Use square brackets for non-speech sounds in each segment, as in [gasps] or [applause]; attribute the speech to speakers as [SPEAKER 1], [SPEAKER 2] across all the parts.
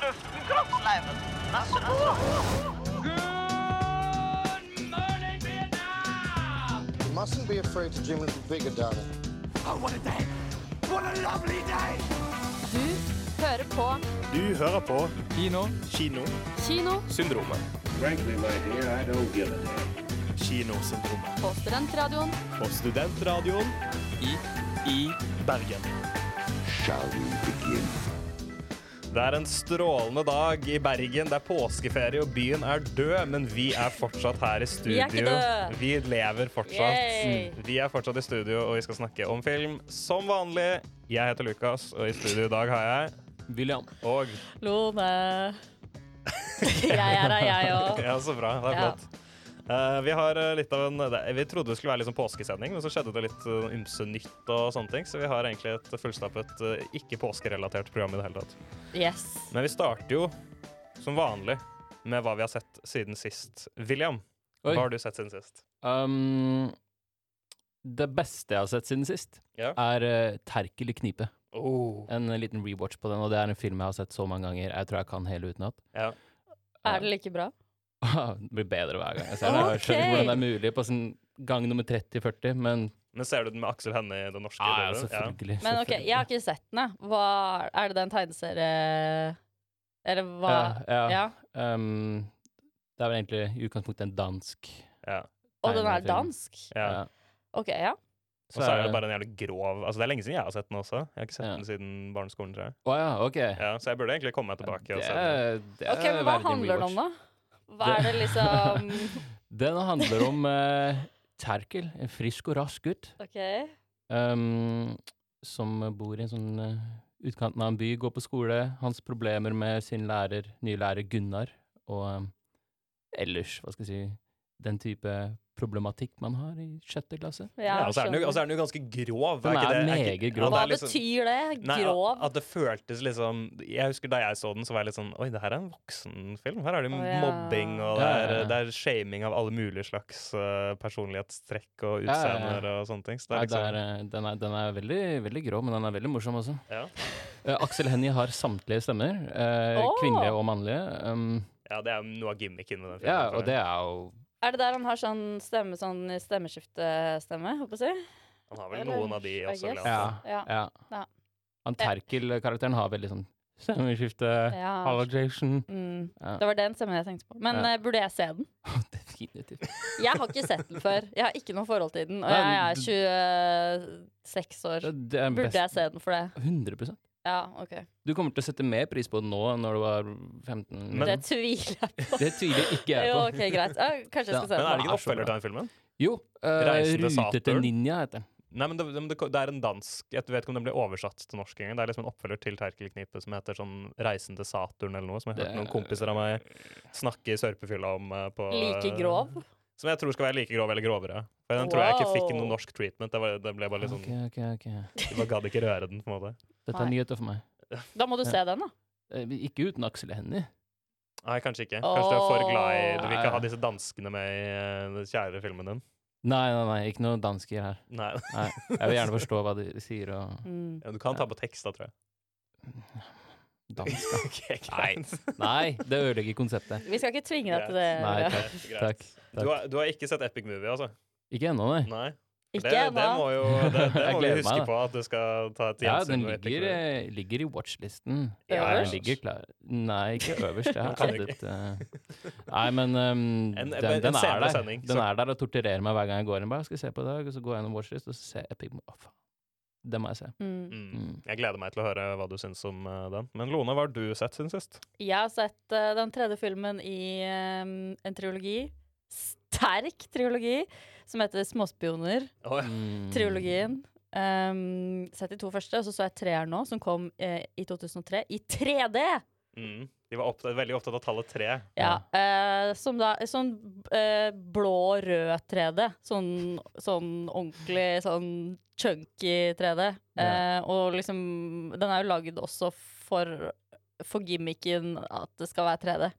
[SPEAKER 1] Live. Nasse, nasse.
[SPEAKER 2] You mustn't be afraid to dream a little bigger, darling.
[SPEAKER 3] Du hører på
[SPEAKER 4] Du hører på
[SPEAKER 5] Kino.
[SPEAKER 4] Kino.
[SPEAKER 3] Kino
[SPEAKER 5] Syndromet.
[SPEAKER 6] Frankly, my dear, I don't give a damn.
[SPEAKER 4] Kinosyndromet.
[SPEAKER 3] på Studentradioen.
[SPEAKER 4] På Studentradioen
[SPEAKER 5] I. I.
[SPEAKER 4] Bergen. Det er en strålende dag i Bergen. Det er påskeferie, og byen er død. Men vi er fortsatt her i
[SPEAKER 3] er
[SPEAKER 4] studio.
[SPEAKER 3] ikke død.
[SPEAKER 4] Vi lever
[SPEAKER 3] Yay.
[SPEAKER 4] fortsatt. Vi er fortsatt i studio, og vi skal snakke om film som vanlig. Jeg heter Lukas, og i studio i dag har jeg
[SPEAKER 5] William.
[SPEAKER 4] Og [laughs]
[SPEAKER 3] Lone. Jeg er her, jeg òg.
[SPEAKER 4] Ja, så bra. Det er
[SPEAKER 3] Ja.
[SPEAKER 4] flott. Eh, vi har eh, litt av en det- Vi trodde det skulle være litt sånn påskesending, men så skjedde det litt eh, ymse nytt og sånne ting, så vi har egentlig et fullstappet eh, ikke påskerelatert program i det hele tatt.
[SPEAKER 3] Yes.
[SPEAKER 4] Men vi starter jo som vanlig med hva vi har sett siden sist. William,
[SPEAKER 5] Oi.
[SPEAKER 4] hva har du sett siden sist?
[SPEAKER 5] Um, det beste jeg har sett siden sist,
[SPEAKER 4] Ja.
[SPEAKER 5] er eh, Terkel i knipe.
[SPEAKER 4] Oh.
[SPEAKER 5] En liten rewatch på den, og det er en film jeg har sett så mange ganger. Jeg tror jeg kan hele utenat. [laughs]
[SPEAKER 4] Ja.
[SPEAKER 3] Er det like bra?
[SPEAKER 5] det blir bedre hver gang jeg ser den. Jeg skjønner ikke
[SPEAKER 3] Ok.
[SPEAKER 5] hvordan det er mulig på sin gang nummer 30-40, men
[SPEAKER 4] Men ser du den med Aksel Hennie i det norske?
[SPEAKER 5] ja, ja,
[SPEAKER 4] dubben?
[SPEAKER 5] selvfølgelig.
[SPEAKER 3] Men OK,
[SPEAKER 5] selvfølgelig.
[SPEAKER 3] jeg har ikke sett den, jeg. Hva- Er det den tegneserie Eller hva
[SPEAKER 5] Ja, ja.
[SPEAKER 3] Ja.
[SPEAKER 5] Um, det er vel egentlig i utgangspunktet en dansk
[SPEAKER 4] Ja.
[SPEAKER 3] Og den er
[SPEAKER 5] tegnefilm.
[SPEAKER 3] dansk?
[SPEAKER 4] Ja. Ja.
[SPEAKER 3] OK, ja.
[SPEAKER 4] Og så er det bare en jævlig grov Altså Det er lenge siden jeg har sett den også. Jeg har ikke sett
[SPEAKER 5] Ja.
[SPEAKER 4] den siden barneskolen, tror jeg.
[SPEAKER 5] Å ja, ok.
[SPEAKER 4] Ja, så jeg burde egentlig komme meg tilbake og
[SPEAKER 5] Det
[SPEAKER 4] se den.
[SPEAKER 5] er, det er
[SPEAKER 3] Ok, men Hva
[SPEAKER 5] verdig en
[SPEAKER 3] handler den om,
[SPEAKER 5] rewatch.
[SPEAKER 3] da? Hva er det liksom
[SPEAKER 4] [laughs]
[SPEAKER 5] Den handler om eh, Terkel, en frisk og rask gutt,
[SPEAKER 3] OK.
[SPEAKER 5] um, som bor i en sånn eh, utkanten av en by, går på skole. Hans problemer med sin lærer, nye lærer Gunnar, og um, ellers, hva skal jeg si, den type problematikk man har i sjette klasse.
[SPEAKER 4] Ja,
[SPEAKER 3] Ja,
[SPEAKER 4] og så er den jo- og
[SPEAKER 3] skjønner.
[SPEAKER 4] så er den jo ganske grov.
[SPEAKER 5] Den
[SPEAKER 4] ikke
[SPEAKER 5] er
[SPEAKER 4] det-
[SPEAKER 5] meget
[SPEAKER 4] ikke-
[SPEAKER 5] grov.
[SPEAKER 4] at det
[SPEAKER 3] Hva
[SPEAKER 4] er liksom-
[SPEAKER 3] betyr det?
[SPEAKER 4] Nei, at-
[SPEAKER 3] Grov?
[SPEAKER 4] At det føltes liksom Jeg husker da jeg så den, så var jeg litt sånn Oi, det her er en voksenfilm. Her er det
[SPEAKER 3] Å, ja.
[SPEAKER 4] mobbing, og det
[SPEAKER 5] Ja,
[SPEAKER 4] er,
[SPEAKER 5] ja, ja.
[SPEAKER 4] det er shaming av alle mulige slags eh, personlighetstrekk og
[SPEAKER 5] Ja, ja, ja.
[SPEAKER 4] utseender og sånne ting. Så det
[SPEAKER 5] Nei,
[SPEAKER 4] er liksom
[SPEAKER 5] det er, eh, den, er, den er veldig, veldig grov, men den er veldig morsom også.
[SPEAKER 4] Ja.
[SPEAKER 5] Eh, Aksel Hennie har samtlige stemmer, eh,
[SPEAKER 3] Åh!
[SPEAKER 5] kvinnelige og mannlige. Um,
[SPEAKER 4] ja, det er noe av gimmicken med den filmen.
[SPEAKER 5] ja,
[SPEAKER 4] tror
[SPEAKER 5] og
[SPEAKER 4] jeg.
[SPEAKER 5] det er jo
[SPEAKER 3] Er det der han har sånn stemme, sånn stemmeskiftestemme, håper jeg å si?
[SPEAKER 4] Han har vel noen av de
[SPEAKER 3] Eller-
[SPEAKER 4] også.
[SPEAKER 3] I guess.
[SPEAKER 4] Eller?
[SPEAKER 5] Ja.
[SPEAKER 4] annet.
[SPEAKER 3] Ja.
[SPEAKER 5] ja.
[SPEAKER 3] Ja.
[SPEAKER 5] Han Terkel-karakteren har veldig sånn stemmeskifte,
[SPEAKER 3] Ja.
[SPEAKER 5] Hallo [laughs] Jason.
[SPEAKER 3] Mm.
[SPEAKER 5] Ja.
[SPEAKER 3] Det var den stemmen jeg tenkte på. Men
[SPEAKER 5] Ja.
[SPEAKER 3] eh, burde jeg se den?
[SPEAKER 5] Definitivt.
[SPEAKER 3] Jeg har ikke sett den før. Jeg har ikke noe forhold til den, og jeg
[SPEAKER 5] Nei,
[SPEAKER 3] er 26 år.
[SPEAKER 5] Det det er
[SPEAKER 3] Burde jeg
[SPEAKER 5] best.
[SPEAKER 3] se den for det?
[SPEAKER 5] 100
[SPEAKER 3] Ja, OK.
[SPEAKER 5] Du kommer til å sette mer pris på den nå enn når du var 15.
[SPEAKER 4] Men-
[SPEAKER 3] Det tviler jeg på.
[SPEAKER 5] det tviler ikke jeg
[SPEAKER 3] Jo,
[SPEAKER 5] på.
[SPEAKER 3] OK, greit. Ja, kanskje jeg skal se den.
[SPEAKER 4] Men er det ikke en
[SPEAKER 5] Den er så
[SPEAKER 4] oppfølger
[SPEAKER 5] bra.
[SPEAKER 4] til den filmen?
[SPEAKER 5] Jo.
[SPEAKER 4] Reisen
[SPEAKER 5] Uh,
[SPEAKER 4] til
[SPEAKER 5] Rute til
[SPEAKER 4] Saturn.
[SPEAKER 5] ninja heter den.
[SPEAKER 4] Nei, men det, men det, det er en dansk Jeg vet ikke om den ble oversatt til norsk engang. Det er liksom en oppfølger til Terkelknipet som heter sånn 'Reisen til Saturn' eller noe, som jeg har
[SPEAKER 5] Det
[SPEAKER 4] hørt noen
[SPEAKER 5] er-
[SPEAKER 4] kompiser av meg snakke i sørpefylla om eh, på
[SPEAKER 3] Like grov?
[SPEAKER 4] Som jeg tror skal være like grov eller grovere. For den tror jeg ikke fikk
[SPEAKER 3] Wow.
[SPEAKER 4] noen norsk treatment. Det, var, det ble bare litt sånn
[SPEAKER 5] Ok, ok, ok.
[SPEAKER 4] De bare gadd ikke røre den, på en måte.
[SPEAKER 5] Dette er
[SPEAKER 3] Nei.
[SPEAKER 5] nyheter for meg.
[SPEAKER 3] [laughs] Da må du se den, da.
[SPEAKER 5] Eh, Ikke uten Aksel Hennie.
[SPEAKER 4] Nei, kanskje ikke. Kanskje du er for glad i Du vil
[SPEAKER 5] Åh.
[SPEAKER 4] ikke ha disse danskene med i eh, den kjære filmen din.
[SPEAKER 5] Nei, nei, nei, ikke noen dansker her.
[SPEAKER 4] Nei. [laughs]
[SPEAKER 5] Nei, Jeg vil gjerne forstå hva de sier, og
[SPEAKER 3] Mm.
[SPEAKER 4] Ja, Du kan ta på tekst, da, tror
[SPEAKER 5] [laughs]
[SPEAKER 4] jeg. [laughs]
[SPEAKER 5] danska
[SPEAKER 4] Okay,
[SPEAKER 5] Nei.
[SPEAKER 4] greit.
[SPEAKER 5] Nei, det ødelegger konseptet.
[SPEAKER 3] Vi skal ikke tvinge deg til det.
[SPEAKER 4] Greit.
[SPEAKER 5] Nei,
[SPEAKER 3] Andrea.
[SPEAKER 5] takk.
[SPEAKER 4] Greit.
[SPEAKER 5] takk,
[SPEAKER 4] Du
[SPEAKER 5] takk.
[SPEAKER 4] har, du har ikke sett Epic Movie, altså?
[SPEAKER 5] Ikke ennå, nei.
[SPEAKER 4] Nei.
[SPEAKER 3] Ikke
[SPEAKER 4] det, det
[SPEAKER 3] ennå.
[SPEAKER 4] må jo det,
[SPEAKER 3] [laughs]
[SPEAKER 4] det
[SPEAKER 5] Jeg
[SPEAKER 4] må vi
[SPEAKER 5] gleder meg,
[SPEAKER 4] huske
[SPEAKER 5] da.
[SPEAKER 4] på, at du skal ta et
[SPEAKER 5] Ja,
[SPEAKER 4] gjensyn
[SPEAKER 5] den
[SPEAKER 4] med Epic
[SPEAKER 5] ligger,
[SPEAKER 4] Movie.
[SPEAKER 5] eh, ligger i watchlisten.
[SPEAKER 4] Ja,
[SPEAKER 5] Ja, den
[SPEAKER 4] øverst.
[SPEAKER 5] ligger klar. Nei, ikke
[SPEAKER 4] [laughs]
[SPEAKER 5] øverst. Jeg har
[SPEAKER 4] kan ikke.
[SPEAKER 5] addet, eh, Nei, men um,
[SPEAKER 4] En-
[SPEAKER 5] den,
[SPEAKER 4] en- en
[SPEAKER 5] den er
[SPEAKER 4] senere
[SPEAKER 5] der.
[SPEAKER 4] sending,
[SPEAKER 5] Den
[SPEAKER 4] så-
[SPEAKER 5] er der og torturerer meg hver gang jeg går inn. Bare, skal jeg se på i dag, og så går jeg gjennom watchlist, og så ser jeg Epic Mo- Å, faen. Det må jeg se.
[SPEAKER 3] Mm.
[SPEAKER 4] Mm.
[SPEAKER 5] Mm.
[SPEAKER 4] Jeg gleder meg til å høre hva du syns om eh, den. Men Lone, hva har du sett siden sist?
[SPEAKER 3] Jeg har sett eh, den tredje filmen i eh, en trilogi. Sterk trilogi som heter Småspioner.
[SPEAKER 5] Mm.
[SPEAKER 3] Trilogien. Um, sett de to første, og så så jeg treeren nå, som kom eh, i 2003. I 3D!
[SPEAKER 4] Mm. De var opptatt, veldig opptatt av tallet tre.
[SPEAKER 3] Ja, eh, som da, sånn eh, blå-rød 3D. Sånn, sånn ordentlig sånn chunky 3D. Eh, og liksom Den er jo lagd også for, for gimmicken at det skal være 3D.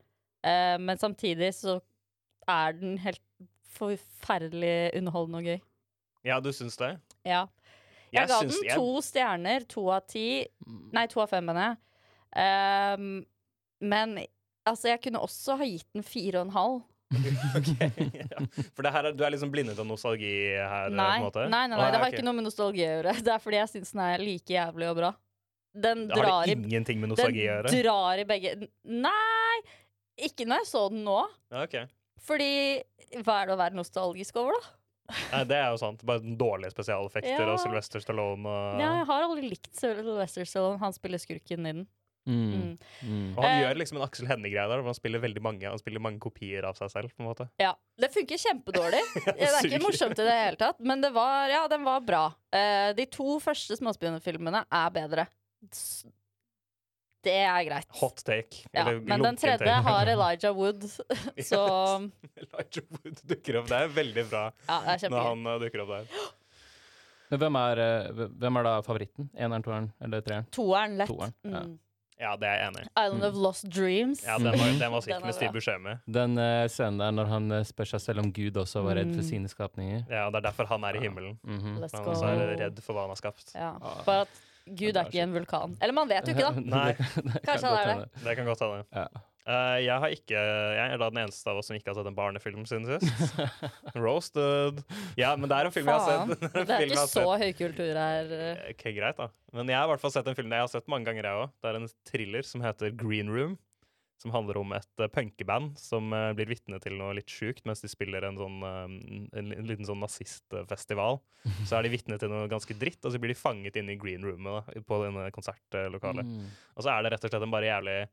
[SPEAKER 3] Eh, men samtidig så er den helt forferdelig underholdende og gøy.
[SPEAKER 4] Ja, du syns det?
[SPEAKER 3] Ja. Jeg, ga
[SPEAKER 4] syns-
[SPEAKER 3] den
[SPEAKER 4] jeg-
[SPEAKER 5] Mm.
[SPEAKER 3] to stjerner. To av ti. Nei, to av fem, mener jeg. Ehm, Men altså, jeg kunne også ha gitt den fire og en halv.
[SPEAKER 4] Ok, [laughs] ja. For det her er, du er liksom blindet av nostalgi her? eh,
[SPEAKER 3] Nei,
[SPEAKER 4] på en
[SPEAKER 3] nei,
[SPEAKER 4] måte?
[SPEAKER 3] nei, nei,
[SPEAKER 4] Å,
[SPEAKER 3] det har
[SPEAKER 4] ok.
[SPEAKER 3] ikke noe med nostalgi å gjøre. [laughs] Det er fordi jeg syns den er like jævlig og bra. Den
[SPEAKER 4] Det har
[SPEAKER 3] drar
[SPEAKER 4] det
[SPEAKER 3] i
[SPEAKER 4] ingenting med
[SPEAKER 3] Den
[SPEAKER 4] nostalgi å gjøre?
[SPEAKER 3] drar i begge Nei! Ikke når jeg så den nå.
[SPEAKER 4] Ja, ok.
[SPEAKER 3] Fordi hva er det å være nostalgisk over, da?
[SPEAKER 4] Nei, det er jo sant. Bare den dårlige spesialeffekter
[SPEAKER 3] Ja.
[SPEAKER 4] og Sylvester Stallone og
[SPEAKER 3] Ja, jeg har aldri likt Sylvester Stallone. Han spiller skurken i den.
[SPEAKER 5] Mm.
[SPEAKER 3] Mm.
[SPEAKER 5] Mm.
[SPEAKER 4] Og han
[SPEAKER 3] Eh.
[SPEAKER 4] gjør liksom en Aksel Hennie-greie der, hvor han spiller veldig mange Han spiller mange kopier av seg selv. på en måte
[SPEAKER 3] Ja, Det funker kjempedårlig.
[SPEAKER 4] [laughs]
[SPEAKER 3] Det er
[SPEAKER 4] suger.
[SPEAKER 3] ikke morsomt i det hele tatt, men det var, ja, den var bra. Eh, de to første småspionfilmene er bedre. S- Det er greit.
[SPEAKER 4] Hot take.
[SPEAKER 3] Ja,
[SPEAKER 4] eller
[SPEAKER 3] men den
[SPEAKER 4] lunken take.
[SPEAKER 3] tredje
[SPEAKER 4] [laughs]
[SPEAKER 3] har Elijah Wood, så
[SPEAKER 4] Elijah Wood dukker opp. Det er veldig bra
[SPEAKER 3] ja, det er
[SPEAKER 4] når
[SPEAKER 3] kjempegøy.
[SPEAKER 4] han eh, dukker opp der.
[SPEAKER 5] Men hvem er, eh, hv- hvem er da favoritten? Eneren, toeren eller treeren?
[SPEAKER 3] Toeren lett.
[SPEAKER 5] Toeren, ja. Mm.
[SPEAKER 3] Mm.
[SPEAKER 4] Ja, det er jeg enig i.
[SPEAKER 3] Island of Lost Dreams.
[SPEAKER 4] Ja, den var, den var
[SPEAKER 3] Mm. Den
[SPEAKER 4] sikkert
[SPEAKER 3] er
[SPEAKER 4] med stiv
[SPEAKER 3] bra.
[SPEAKER 4] beskjed med.
[SPEAKER 5] Den eh, scenen der når han eh, spør seg selv om Gud også var
[SPEAKER 3] Mm.
[SPEAKER 5] redd for sine skapninger.
[SPEAKER 4] Ja, Det er derfor han er i himmelen.
[SPEAKER 5] Mhm.
[SPEAKER 3] Let's
[SPEAKER 4] Han
[SPEAKER 3] go.
[SPEAKER 4] også er redd for hva han har skapt.
[SPEAKER 3] Ja.
[SPEAKER 5] Ah.
[SPEAKER 3] Bare at Gud er ikke en vulkan. Eller man vet jo
[SPEAKER 5] [laughs]
[SPEAKER 3] ikke, da.
[SPEAKER 4] [laughs] Nei.
[SPEAKER 5] Det kan- det kan
[SPEAKER 3] Kanskje han
[SPEAKER 5] godt
[SPEAKER 3] er
[SPEAKER 5] hende.
[SPEAKER 4] Det kan godt hende.
[SPEAKER 5] Ja.
[SPEAKER 4] Eh, jeg, har ikke, jeg er da den eneste av oss som ikke har sett en barnefilm siden [laughs] sist. Roasted. Ja, men [laughs] det er en film
[SPEAKER 3] Faen.
[SPEAKER 4] jeg har sett.
[SPEAKER 3] Det er ikke så høykultur her. eh,
[SPEAKER 4] Eh, Ok, greit da. Men jeg har i hvert fall sett en film jeg har sett mange ganger, jeg òg. Det er en thriller som heter Green Room. Som handler om et uh, punkeband som eh, blir vitne til noe litt sjukt mens de spiller en, sånn, eh, en, en liten sånn nazistfestival. Så er de vitne til noe ganske dritt, og så blir de fanget inne i green roomet da, på denne konsertlokalet.
[SPEAKER 5] Mm.
[SPEAKER 4] Og så er det rett og slett en bare jævlig eh,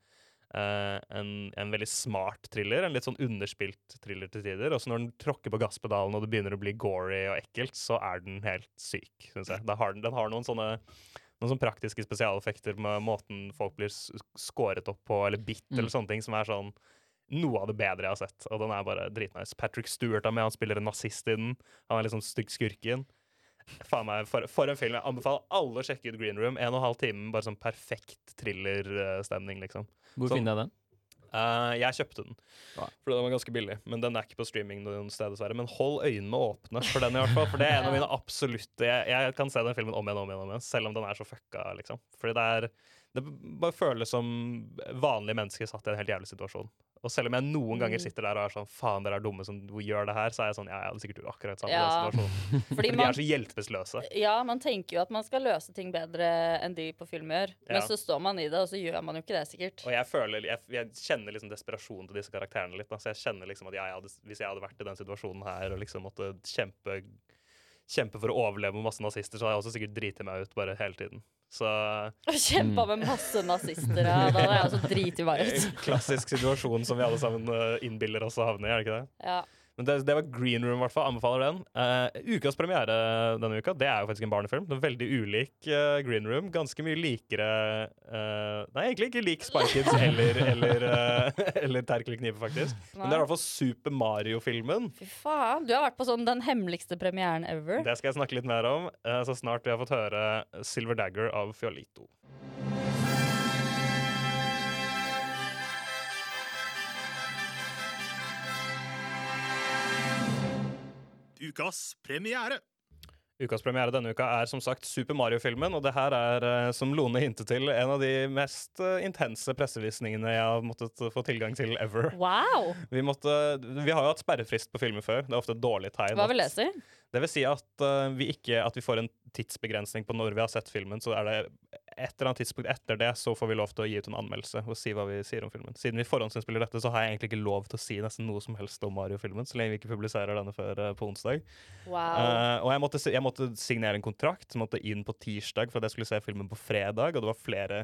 [SPEAKER 4] en, en veldig smart thriller, en litt sånn underspilt thriller til tider. Og så når den tråkker på gasspedalen og det begynner å bli gory og ekkelt, så er den helt syk, syns jeg. Da har den, den har noen sånne noen sånne praktiske spesialeffekter med måten folk blir s- skåret opp på, eller bitt,
[SPEAKER 5] Mm.
[SPEAKER 4] eller sånne ting, som er sånn noe av det bedre jeg har sett. Og den er bare dritnice. Patrick Stewart er med, han spiller en nazist i den. Han er liksom stygg skurken. Faen meg, for, for en film. Jeg anbefaler alle å sjekke ut Green Room. En og en halv time, bare sånn perfekt thriller-stemning, liksom.
[SPEAKER 5] Hvor
[SPEAKER 4] Sånn.
[SPEAKER 5] finner jeg den?
[SPEAKER 4] Eh, jeg kjøpte den,
[SPEAKER 5] Ja.
[SPEAKER 4] fordi den var ganske billig. Men den er ikke på streaming noen sted, dessverre. Men hold øynene åpne for den, i hvert fall. For det er en av mine absolutte jeg, jeg kan se den filmen om igjen og om igjen, om igjen, selv om den er så fucka, liksom. Fordi det er Det bare føles som vanlige mennesker satt i en helt jævlig situasjon. Og selv om jeg noen ganger sitter der og er sånn faen, dere er dumme som gjør det her, så er jeg sånn ja, jeg hadde sikkert gjort akkurat samme
[SPEAKER 3] Ja.
[SPEAKER 4] ja. situasjon.
[SPEAKER 3] Fordi
[SPEAKER 4] For de
[SPEAKER 3] man,
[SPEAKER 4] er så hjelpeløse.
[SPEAKER 3] ja, man tenker jo at man skal løse ting bedre enn de på film gjør, men
[SPEAKER 4] Ja.
[SPEAKER 3] så står man i det, og så gjør man jo ikke det, sikkert.
[SPEAKER 4] Og jeg føler, jeg, jeg kjenner liksom desperasjon til disse karakterene litt. Da. Så jeg kjenner liksom at jeg hadde, Hvis jeg hadde vært i den situasjonen her og liksom måtte kjempe, kjempe for å overleve med masse nazister, så hadde jeg også sikkert driti meg ut bare hele tiden. Så [laughs]
[SPEAKER 3] Og kjempa med masse nazister, ja. Da hadde jeg altså også driti meg ut.
[SPEAKER 4] klassisk situasjon som vi alle sammen eh, innbiller oss å havne i, er det ikke det?
[SPEAKER 3] Ja.
[SPEAKER 4] Men det, det var Green Room, i hvert fall. Anbefaler den. Eh, ukas premiere denne uka, det er jo faktisk en barnefilm. Den er veldig ulik eh, Green Room. Ganske mye likere eh, Nei, egentlig ikke lik Spy Kids eller, eller, eh, [laughs] eller Terkel i kniven, faktisk. Men det er i hvert fall Super Mario-filmen.
[SPEAKER 3] Fy faen. Du har vært på sånn den hemmeligste premieren ever.
[SPEAKER 4] Det skal jeg snakke litt mer om eh, så snart vi har fått høre Silver Dagger av Fiolito.
[SPEAKER 1] ukas premiere.
[SPEAKER 4] Ukas premiere denne uka er som sagt Super Mario-filmen, og det her er, eh, som Lone hintet til, en av de mest eh, intense pressevisningene jeg har måttet eh, få tilgang til ever.
[SPEAKER 3] Wow!
[SPEAKER 4] Vi, måtte, vi har jo hatt sperrefrist på filmer før. Det er ofte et dårlig tegn.
[SPEAKER 3] Hva
[SPEAKER 4] at-
[SPEAKER 3] vil jeg si?
[SPEAKER 4] Det vil si at eh, vi ikke at vi får en tidsbegrensning på når vi har sett filmen. Så er det et eller annet tidspunkt etter det så får vi lov til å gi ut en anmeldelse og si hva vi sier om filmen. Siden vi forhåndsinnspiller dette, så har jeg egentlig ikke lov til å si nesten noe som helst om Mario-filmen, så lenge vi ikke publiserer denne før eh, på onsdag.
[SPEAKER 3] Wow.
[SPEAKER 4] Eh, og jeg måtte, si- jeg måtte signere en kontrakt, måtte inn på tirsdag for at jeg skulle se filmen på fredag. Og det var flere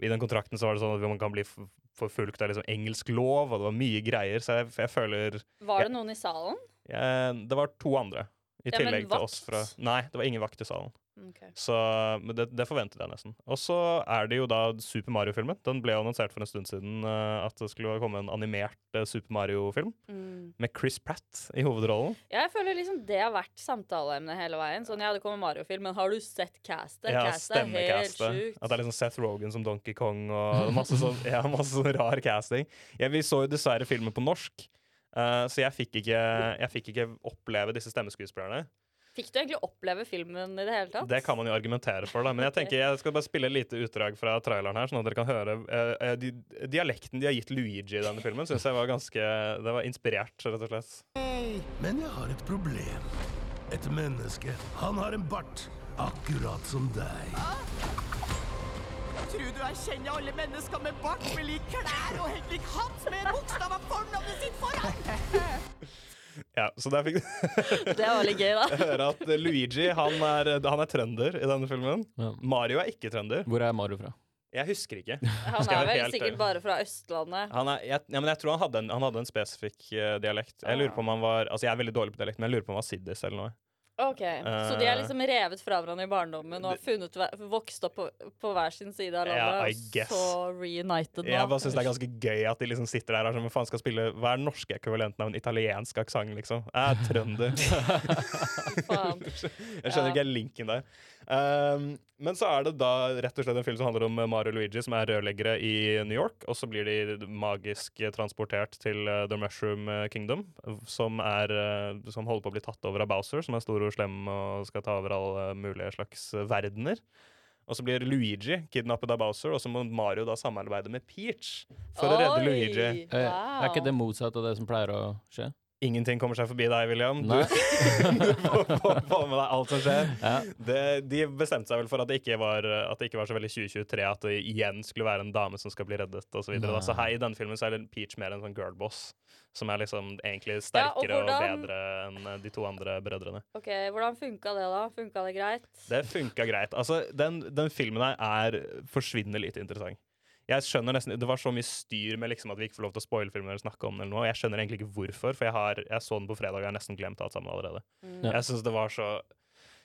[SPEAKER 4] I den kontrakten så var det sånn at man kan bli f- forfulgt av liksom engelsk lov, og det var mye greier, så jeg, jeg føler
[SPEAKER 3] Var det noen i salen?
[SPEAKER 4] Eh, det var to andre. I
[SPEAKER 3] Ja, men
[SPEAKER 4] tillegg til
[SPEAKER 3] vakt? Mm,
[SPEAKER 4] oss fra Nei, det var ingen vakt i salen.
[SPEAKER 3] Ok.
[SPEAKER 4] Så men det, det forventet jeg nesten. Og så er det jo da Super Mario-filmen. Den ble jo annonsert for en stund siden eh, at det skulle komme en animert eh, Super Mario-film
[SPEAKER 3] Mm.
[SPEAKER 4] med Chris Pratt i hovedrollen.
[SPEAKER 3] Ja, jeg føler liksom det har vært samtaleemnet hele veien. Sånn, ja, det kommer Mario-film, men har du sett castet?
[SPEAKER 4] Ja,
[SPEAKER 3] castet er helt
[SPEAKER 4] stemmecastet.
[SPEAKER 3] sjukt.
[SPEAKER 4] At det er liksom Seth Rogan som Donkey Kong og masse sånn, ja, masse sånn rar casting. Ja, vi så jo dessverre filmen på norsk, eh, så jeg fikk, ikke, jeg fikk ikke oppleve disse stemmeskuespillerne.
[SPEAKER 3] Fikk du egentlig oppleve filmen i det hele tatt?
[SPEAKER 4] Det kan man jo argumentere for, da. Men jeg tenker jeg skal bare spille et lite utdrag fra traileren her, sånn at dere kan høre eh, eh, di- Dialekten de har gitt Luigi i denne filmen, syns jeg var ganske Det var inspirert, rett og slett.
[SPEAKER 7] Men jeg har et problem. Et menneske. Han har en bart. Akkurat som deg.
[SPEAKER 8] Tror du jeg kjenner alle mennesker med bart med lik klær og Henrik Hans med bokstaver fornavnet sitt foran?
[SPEAKER 4] Ja, så der fikk [laughs]
[SPEAKER 3] Det var litt gøy, da.
[SPEAKER 4] høre at Luigi han er, han er trønder i denne filmen.
[SPEAKER 5] Ja.
[SPEAKER 4] Mario er ikke trønder.
[SPEAKER 5] Hvor er Mario fra?
[SPEAKER 4] Jeg husker ikke.
[SPEAKER 3] Han
[SPEAKER 4] Skal jeg
[SPEAKER 3] er
[SPEAKER 4] være
[SPEAKER 3] vel
[SPEAKER 4] helt ærlig?
[SPEAKER 3] sikkert bare fra Østlandet.
[SPEAKER 4] Han er, jeg, ja, men jeg tror han hadde en, han hadde en spesifikk eh, dialekt. Jeg lurer på om han var Altså, jeg er veldig dårlig på dialekt, men jeg lurer på om han var siddis eller noe.
[SPEAKER 3] Ok, Så
[SPEAKER 4] Eh,
[SPEAKER 3] de er liksom revet fra hverandre i barndommen og har funnet, hver- vokst opp på, på hver sin side av
[SPEAKER 4] Ja, I
[SPEAKER 3] landet, og
[SPEAKER 4] guess.
[SPEAKER 3] så reunited
[SPEAKER 4] Jeg bare
[SPEAKER 3] nå?
[SPEAKER 4] syns det er ganske gøy at de liksom sitter der og er sånn, "Hva faen skal spille Hva er den norske ekvivalenten av en italiensk aksent, liksom? Jeg er trønder.
[SPEAKER 3] Faen.
[SPEAKER 4] [laughs] Jeg skjønner ikke linken der. Ehm, men så er det da rett og slett en film som handler om eh, Mario og Luigi, som er rørleggere i New York. Og så blir de magisk eh, transportert til eh, The Mushroom eh, Kingdom, som, er, eh, som holder på å bli tatt over av Bowser, som er stor og slem og skal ta over alle mulige slags eh, verdener. Og så blir Luigi kidnappet av Bowser, og så må Mario da samarbeide med Peach for å redde
[SPEAKER 3] Oi,
[SPEAKER 4] Luigi.
[SPEAKER 5] Eh, Er ikke det
[SPEAKER 3] wow.
[SPEAKER 5] motsatt av det som pleier å skje?
[SPEAKER 4] Ingenting kommer seg forbi deg, William. Du [laughs]
[SPEAKER 5] Nei?
[SPEAKER 4] får få- få med deg alt som skjer.
[SPEAKER 5] Ja.
[SPEAKER 4] Det, de bestemte seg vel for at det ikke var, at det ikke var så veldig 2023 at det igjen skulle være en dame som skal bli reddet, og så videre. da. Så
[SPEAKER 5] Nei.
[SPEAKER 4] her i denne filmen så er det Peach mer en sånn girlboss, som er liksom egentlig
[SPEAKER 3] Ja, og
[SPEAKER 4] sterkere og,
[SPEAKER 3] hvordan-
[SPEAKER 4] bedre enn eh, de to andre brødrene.
[SPEAKER 3] Ok, Hvordan funka det, da? Funka det greit?
[SPEAKER 4] Det funka greit. Altså, den, den filmen her er forsvinnende lite interessant. Jeg skjønner nesten, Det var så mye styr med liksom at vi ikke får lov til å spoile filmen. eller snakke om den eller noe, og Jeg skjønner egentlig ikke hvorfor, for jeg, har, jeg så den på fredag og jeg har nesten glemt alt sammen allerede.
[SPEAKER 3] Mm.
[SPEAKER 5] Ja.
[SPEAKER 4] Jeg syns det var så,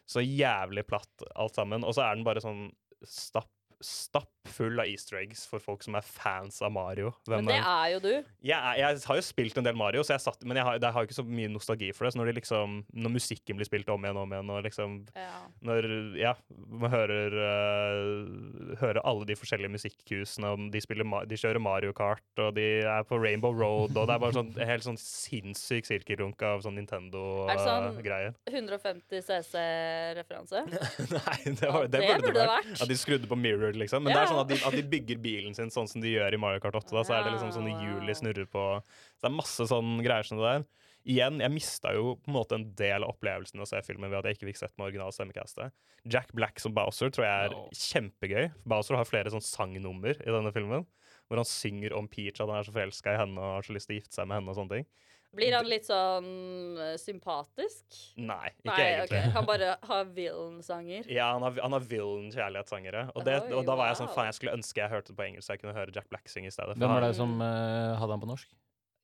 [SPEAKER 4] så jævlig platt alt sammen. Og så er den bare sånn stapp, stapp full av easter eggs for folk som er fans av Mario. Hvem
[SPEAKER 3] Men det
[SPEAKER 4] er-
[SPEAKER 3] er jo du.
[SPEAKER 4] jeg, er- jeg har jo spilt en del Mario, så jeg satt, men jeg har, jeg har jo ikke så mye nostalgi for det. Så når, de liksom, når musikken blir spilt om igjen og om igjen, og liksom
[SPEAKER 3] Ja.
[SPEAKER 4] når ja, man hører, øh, hører alle de forskjellige musikkhusene, og de, spiller, Ma- de kjører Mario Kart, og de er på Rainbow Road, og det er bare sånn en helt sånn sinnssyk sirkelrunk av sånn eh,
[SPEAKER 3] Er det sånn-
[SPEAKER 4] Nintendo-greier.
[SPEAKER 3] 150 CC-referanse.
[SPEAKER 4] [laughs] Nei, det,
[SPEAKER 3] Ja,
[SPEAKER 4] var, det,
[SPEAKER 3] det
[SPEAKER 4] burde det vært.
[SPEAKER 3] vært.
[SPEAKER 4] At de skrudde på mirror, liksom. Men det er
[SPEAKER 3] Ja.
[SPEAKER 4] sånn at de, at de bygger bilen sin sånn som de gjør i Mario Kart 8. Da, så er det liksom sånne
[SPEAKER 3] Ja,
[SPEAKER 4] hjul
[SPEAKER 3] wow.
[SPEAKER 4] de snurrer på. Så det er masse sånn greier som det der. Igjen, jeg mista jo på en måte en del av opplevelsen av å se filmen ved at jeg ikke fikk sett med original stemmecastet. Jack Black som Bowser tror jeg er
[SPEAKER 5] Ja.
[SPEAKER 4] kjempegøy. Bowser har flere sånn sangnummer i denne filmen. Hvor han synger om Peach, at han er så forelska i henne og har så lyst til å gifte seg med henne. og sånne ting.
[SPEAKER 3] Blir han litt sånn eh, sympatisk?
[SPEAKER 4] Nei, ikke
[SPEAKER 3] Nei, ok.
[SPEAKER 4] egentlig.
[SPEAKER 3] Han bare har villain-sanger.
[SPEAKER 4] Ja, han har, han har villain kjærlighetssangere. Og, det,
[SPEAKER 3] Oi,
[SPEAKER 4] og da var jeg sånn
[SPEAKER 3] wow.
[SPEAKER 4] Faen, jeg skulle ønske jeg hørte det på engelsk, så jeg kunne høre Jack Black synge i stedet. For
[SPEAKER 5] Hvem var
[SPEAKER 4] han-
[SPEAKER 5] det som eh, hadde han på norsk?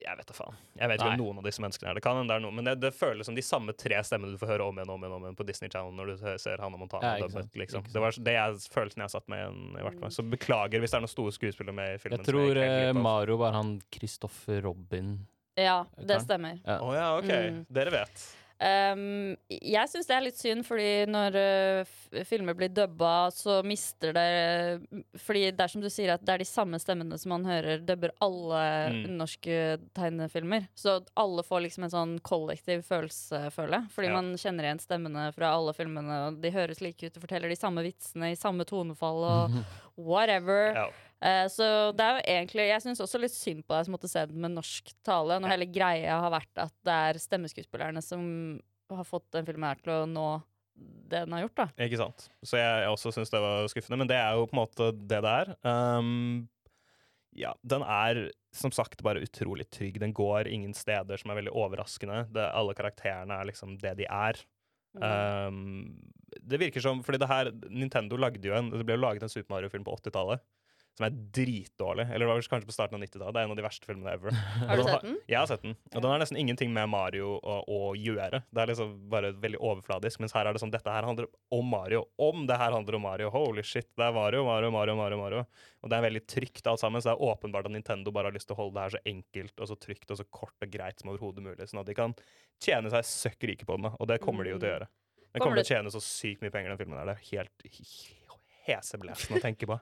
[SPEAKER 4] Jeg vet da faen. Jeg vet ikke
[SPEAKER 5] Nei.
[SPEAKER 4] hvem noen av disse menneskene er. Det kan hende det er noen, men det, det føles som de samme tre stemmene du får høre om igjen og om igjen, om igjen på Disney Channel når du hø- ser Hannah Montana.
[SPEAKER 5] Ja, ikke
[SPEAKER 4] dubbet,
[SPEAKER 5] sant,
[SPEAKER 4] liksom.
[SPEAKER 5] ikke
[SPEAKER 4] Det var det jeg, følelsen jeg satt med igjen, i hvert
[SPEAKER 3] Mm.
[SPEAKER 4] fall. Så beklager hvis det er noen store skuespillere med i filmen.
[SPEAKER 5] Jeg
[SPEAKER 4] som
[SPEAKER 5] tror
[SPEAKER 4] ikke helt
[SPEAKER 5] eh,
[SPEAKER 4] grep av.
[SPEAKER 5] Mario var han Kristoffer Robin.
[SPEAKER 3] Ja, det
[SPEAKER 5] Ok.
[SPEAKER 3] stemmer.
[SPEAKER 4] Å ja, OK.
[SPEAKER 3] Mm.
[SPEAKER 4] Dere vet.
[SPEAKER 3] Um, jeg syns det er litt synd, fordi når uh, f- filmer blir dubba, så mister det Fordi det er som du sier, at det er de samme stemmene som man hører dubber alle
[SPEAKER 4] Mm.
[SPEAKER 3] norske tegnefilmer. Så alle får liksom en sånn kollektiv følelse, føler jeg. Fordi
[SPEAKER 4] Ja.
[SPEAKER 3] man kjenner igjen stemmene fra alle filmene, og de høres like ut og forteller de samme vitsene i samme tonefall
[SPEAKER 4] [laughs]
[SPEAKER 3] og whatever.
[SPEAKER 4] Ja.
[SPEAKER 3] Eh, Så det er jo egentlig Jeg syns også litt synd på deg som måtte se den med norsk tale, når hele greia har vært at det er stemmeskuespillerne som har fått den filmen her til å nå det den har gjort, da.
[SPEAKER 4] Ikke sant. Så jeg, jeg også syns det var skuffende, men det er jo på en måte det det er. Um, ja, den er som sagt bare utrolig trygg. Den går ingen steder som er veldig overraskende. Det, alle karakterene er liksom det de er.
[SPEAKER 3] Mm.
[SPEAKER 4] Um, det virker som Fordi det her Nintendo lagde jo en Det ble jo laget en Super Mario-film på 80-tallet. Som er dritdårlig. Eller det var vel kanskje på starten av 90-tallet. Det er en av de verste filmene ever.
[SPEAKER 3] [laughs] Har du
[SPEAKER 4] Og
[SPEAKER 3] sett den?
[SPEAKER 4] Jeg har sett den. Og den har nesten ingenting med Mario å, å gjøre. Det er liksom bare veldig overfladisk. Mens her er det sånn dette her handler om Mario. Om det her handler om Mario. Holy shit. Det er Mario, Mario, Mario, Mario. Mario. Og det er veldig trygt alt sammen. Så det er åpenbart at Nintendo bare har lyst til å holde det her så enkelt og så trygt og så kort og greit som overhodet mulig. Sånn at de kan tjene seg søkk rike på den. da. Og det kommer de jo til å gjøre. Den
[SPEAKER 3] Kommer
[SPEAKER 4] Mm. kommer til å tjene så sykt mye penger, den filmen her. Det er helt he- heseblesende å tenke på.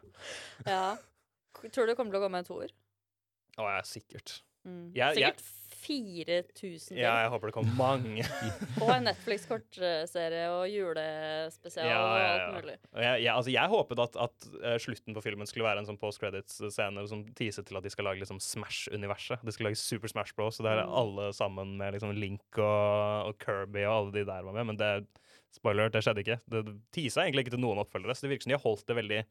[SPEAKER 3] Ja. Tror du det kommer til å komme en toer?
[SPEAKER 4] Å, ja, sikkert.
[SPEAKER 3] Mm.
[SPEAKER 4] Jeg- jeg-
[SPEAKER 3] Sikkert 4000 ting.
[SPEAKER 4] Ja, jeg håper det kommer mange.
[SPEAKER 3] Og en Netflix-kortserie og julespesial
[SPEAKER 4] Ja,
[SPEAKER 3] og
[SPEAKER 4] ja,
[SPEAKER 3] alt
[SPEAKER 4] ja.
[SPEAKER 3] mulig.
[SPEAKER 4] Og jeg, jeg, altså, jeg håpet at, at eh, slutten på filmen skulle være en sånn post credits-scene som teaset til at de skal lage liksom, Smash-universet. De skal lage Super Smash Bros, og der er alle sammen med liksom, Link og, og Kirby og alle de der var med, men det spoiler, alert, det skjedde ikke. Det det teasa egentlig ikke til noen oppfølgere, så det virker som de har holdt det veldig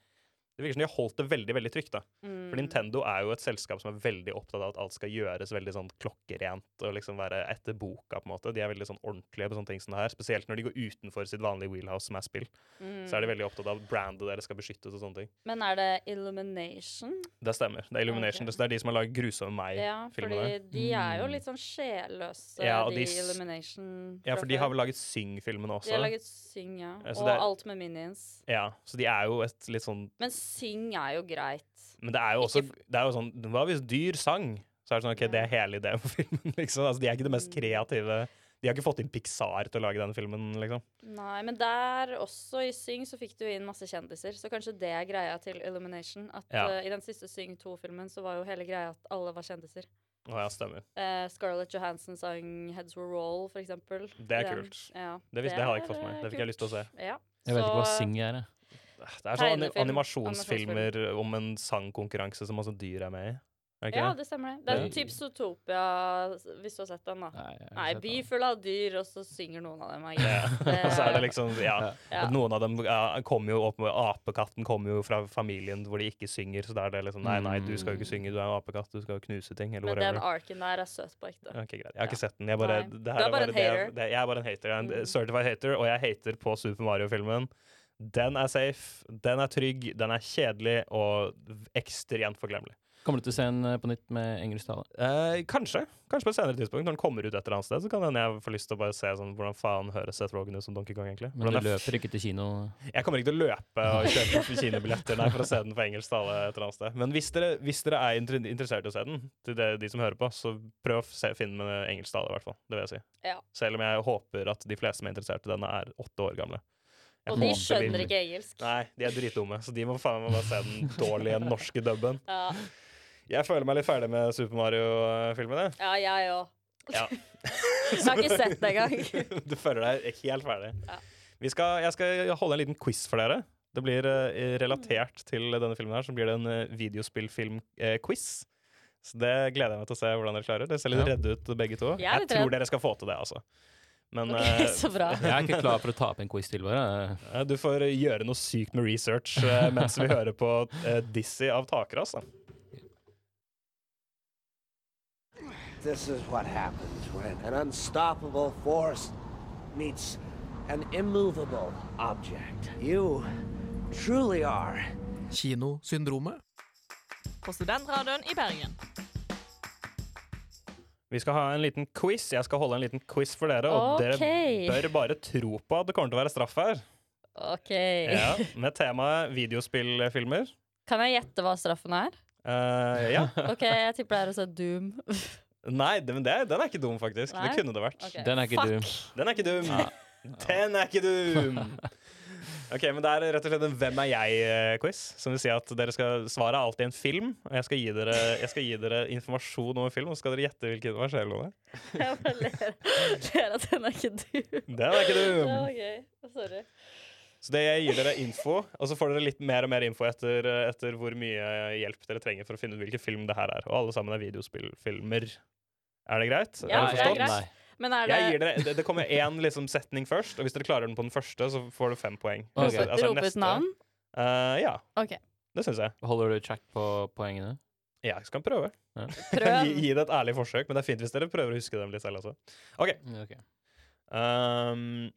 [SPEAKER 4] det virker som de har holdt det veldig veldig trygt. da. For
[SPEAKER 3] Mm.
[SPEAKER 4] Nintendo er jo et selskap som er veldig opptatt av at alt skal gjøres veldig sånn klokkerent og liksom være etter boka. på en måte. De er veldig sånn ordentlige på sånne ting som det her, spesielt når de går utenfor sitt vanlige wheelhouse, som er spill. Så
[SPEAKER 3] Mm.
[SPEAKER 4] er de veldig opptatt av at brandet deres skal beskyttes og sånne ting.
[SPEAKER 3] Men er det Illumination?
[SPEAKER 4] Det stemmer. Det er Illumination.
[SPEAKER 3] Ok.
[SPEAKER 4] Det er de som har laget 'Grusomme
[SPEAKER 3] Ja,
[SPEAKER 4] meg'-filmene
[SPEAKER 3] fordi
[SPEAKER 4] der. Mm.
[SPEAKER 3] de er jo litt sånn sjelløse,
[SPEAKER 4] Ja, og
[SPEAKER 3] de,
[SPEAKER 4] de s-
[SPEAKER 3] Illumination.
[SPEAKER 4] Ja,
[SPEAKER 3] fra
[SPEAKER 4] for de
[SPEAKER 3] før.
[SPEAKER 4] har vel laget Syng-filmene også.
[SPEAKER 3] De har laget Syng, ja.
[SPEAKER 4] Ja, så
[SPEAKER 3] og
[SPEAKER 4] det er-
[SPEAKER 3] alt med minions.
[SPEAKER 4] Ja, Så de er jo et litt sånn
[SPEAKER 3] Men Syng er jo greit.
[SPEAKER 4] Men det er jo også
[SPEAKER 3] Ikke
[SPEAKER 4] det er jo sånn Hva hvis dyr sang? Så er det sånn, ok, det er hele ideen for filmen, liksom. Altså, de er ikke det
[SPEAKER 3] Mm.
[SPEAKER 4] mest kreative De har ikke fått inn Pixar til å lage denne filmen, liksom.
[SPEAKER 3] Nei, men der også, i Syng, så fikk du inn masse kjendiser. Så kanskje det er greia til Illumination. At
[SPEAKER 4] Ja.
[SPEAKER 3] eh, i den siste Syng 2-filmen så var jo hele greia at alle var kjendiser.
[SPEAKER 4] Å ja, stemmer.
[SPEAKER 3] Eh, Scarlett Johansson sang 'Heads Will Roll', for eksempel.
[SPEAKER 4] Det er
[SPEAKER 3] Den-
[SPEAKER 4] kult.
[SPEAKER 3] Ja,
[SPEAKER 4] Det visste- det hadde jeg ikke
[SPEAKER 3] er,
[SPEAKER 4] fått med meg.
[SPEAKER 3] eh,
[SPEAKER 4] Det fikk jeg lyst til å
[SPEAKER 3] kult. Ja.
[SPEAKER 5] Jeg vet ikke hva
[SPEAKER 3] Så-
[SPEAKER 5] Sing er, jeg.
[SPEAKER 4] Det er sånne ani-
[SPEAKER 3] Tegnefilm,
[SPEAKER 4] animasjonsfilmer om en sangkonkurranse som også dyr er med i. Er det ikke
[SPEAKER 3] Ja,
[SPEAKER 4] det?
[SPEAKER 3] det stemmer. det. Det er
[SPEAKER 5] Ja.
[SPEAKER 3] typ Zootopia, hvis du har sett den, da.
[SPEAKER 5] Nei, jeg har ikke
[SPEAKER 3] Nei,
[SPEAKER 5] sett
[SPEAKER 3] by
[SPEAKER 5] den.
[SPEAKER 3] full av dyr, og så synger noen av dem. er
[SPEAKER 4] Ja. [laughs]
[SPEAKER 3] greit. Det
[SPEAKER 4] Og så er det
[SPEAKER 3] er-
[SPEAKER 4] liksom Ja.
[SPEAKER 3] Ja.
[SPEAKER 4] at Noen av dem ja, kommer jo opp med Apekatten kommer jo fra familien hvor de ikke synger, så da er det liksom Nei, nei, du skal jo ikke synge, du er en apekatt, du skal jo knuse ting, eller
[SPEAKER 3] Men den
[SPEAKER 4] whatever.
[SPEAKER 3] arken der er søt på ekte.
[SPEAKER 4] Ok, greit. Jeg har ikke sett den. Jeg bare,
[SPEAKER 3] Nei.
[SPEAKER 4] det
[SPEAKER 3] Du
[SPEAKER 4] her
[SPEAKER 3] er bare
[SPEAKER 4] er bare
[SPEAKER 3] en
[SPEAKER 4] det, jeg-
[SPEAKER 3] hater. Mm.
[SPEAKER 4] det, jeg er bare en hater. Jeg er en eh, certified hater, og jeg hater på Super Mario-filmen. Den er safe, den er trygg, den er kjedelig og v- ekstremt forglemmelig.
[SPEAKER 5] Kommer du til å se den eh, på nytt med engelsktale?
[SPEAKER 4] Eh, kanskje. Kanskje på et senere tidspunkt. Når den kommer ut et eller annet sted, så kan det hende jeg får lyst til å bare se sånn, hvordan faen høres Seth Rogen ut som Donkey Kong, egentlig.
[SPEAKER 5] Men
[SPEAKER 4] Hvordan
[SPEAKER 5] du
[SPEAKER 4] er
[SPEAKER 5] løper ikke til kino?
[SPEAKER 4] Jeg kommer ikke til å løpe og kjøpe kinobilletter nei, for å se den på engelsk tale et eller annet sted. Men hvis dere, hvis dere er inter- interessert i å se den, til det, de som hører på, så prøv å se, finne med engelsk tale, i hvert fall. Det vil jeg si.
[SPEAKER 3] Ja.
[SPEAKER 4] Selv om jeg håper at de fleste som er interessert i denne, er åtte år gamle. Jeg
[SPEAKER 3] Og de
[SPEAKER 4] håper
[SPEAKER 3] skjønner ikke engelsk.
[SPEAKER 4] Nei, de er dritdumme, så de må faen meg bare se den dårlige norske dubben.
[SPEAKER 3] Ja,
[SPEAKER 4] Jeg føler meg litt ferdig med Super Mario-filmene.
[SPEAKER 3] ja jeg òg.
[SPEAKER 4] Ja.
[SPEAKER 3] Jeg har ikke sett det
[SPEAKER 4] [laughs]
[SPEAKER 3] engang.
[SPEAKER 4] Du føler deg helt ferdig.
[SPEAKER 3] Ja.
[SPEAKER 4] Vi skal, jeg skal holde en liten quiz for dere. Det blir eh, relatert til denne filmen her, så blir det en eh, videospillfilm-quiz. Så det gleder jeg meg til å se hvordan dere klarer. Dere ser litt
[SPEAKER 5] Ja.
[SPEAKER 4] redde ut begge to.
[SPEAKER 3] Jeg er
[SPEAKER 4] Jeg
[SPEAKER 3] litt
[SPEAKER 4] tror
[SPEAKER 3] redd.
[SPEAKER 4] dere skal få til det, altså. Men
[SPEAKER 3] Ok,
[SPEAKER 4] eh,
[SPEAKER 3] [laughs] så bra.
[SPEAKER 5] Jeg er ikke klar for å tape en quiz til, bare.
[SPEAKER 4] eh, du får gjøre noe sykt med research eh, mens vi hører på eh, Dizzy av altså. Takras. da.
[SPEAKER 9] This is what happens when an unstoppable force meets an immovable object. You truly are
[SPEAKER 10] Kinosyndromet?
[SPEAKER 8] På Studentradioen i Bergen.
[SPEAKER 4] Vi skal ha en liten quiz. Jeg skal holde en liten quiz for dere, og
[SPEAKER 3] Ok.
[SPEAKER 4] dere bør bare tro på at det kommer til å være straff her.
[SPEAKER 3] OK.
[SPEAKER 4] Ja, med temaet videospillfilmer.
[SPEAKER 3] Kan jeg gjette hva straffen er?
[SPEAKER 4] Eh, ja.
[SPEAKER 3] OK, jeg tipper det er å se Doom. [laughs]
[SPEAKER 4] Nei, det, men det, den er ikke dum, faktisk.
[SPEAKER 3] Nei?
[SPEAKER 4] Det kunne det vært.
[SPEAKER 3] Ok,
[SPEAKER 5] Den er ikke
[SPEAKER 3] fuck.
[SPEAKER 5] dum.
[SPEAKER 4] Den er ikke dum! Den er ikke dum! Ok, men Det er rett og slett en Hvem er jeg-quiz. Som vil si at dere skal Svaret er alltid en film. Og jeg skal gi dere, jeg skal gi dere informasjon om en film, og så skal dere gjette hvilken hva skjer, Lone?
[SPEAKER 3] Jeg bare ler ler at den er ikke dum.
[SPEAKER 4] Den er ikke
[SPEAKER 3] Det
[SPEAKER 4] dum!
[SPEAKER 3] var gøy. Sorry.
[SPEAKER 4] Så det jeg gir dere info, og så får dere litt mer og mer info etter, etter hvor mye hjelp dere trenger for å finne ut hvilken film det her er. Og alle sammen er videospillfilmer. Er det greit?
[SPEAKER 3] Ja,
[SPEAKER 4] er
[SPEAKER 3] det er
[SPEAKER 4] forstått?
[SPEAKER 3] greit. Men er det
[SPEAKER 4] Jeg gir dere, det, det kommer én liksom, setning først, og hvis dere klarer den på den første, så får du fem poeng.
[SPEAKER 5] Ok.
[SPEAKER 4] Hvis det- altså,
[SPEAKER 3] Rop ut
[SPEAKER 4] neste- [laughs]
[SPEAKER 3] navn?
[SPEAKER 4] Eh, ja,
[SPEAKER 3] OK,
[SPEAKER 4] det syns jeg.
[SPEAKER 5] Holder du track på poengene?
[SPEAKER 4] Ja, jeg skal prøve. Gi,
[SPEAKER 3] prøv.
[SPEAKER 4] gi det et ærlig forsøk, men det er fint hvis dere prøver å huske dem litt selv også.
[SPEAKER 5] Ok.
[SPEAKER 4] Ehm,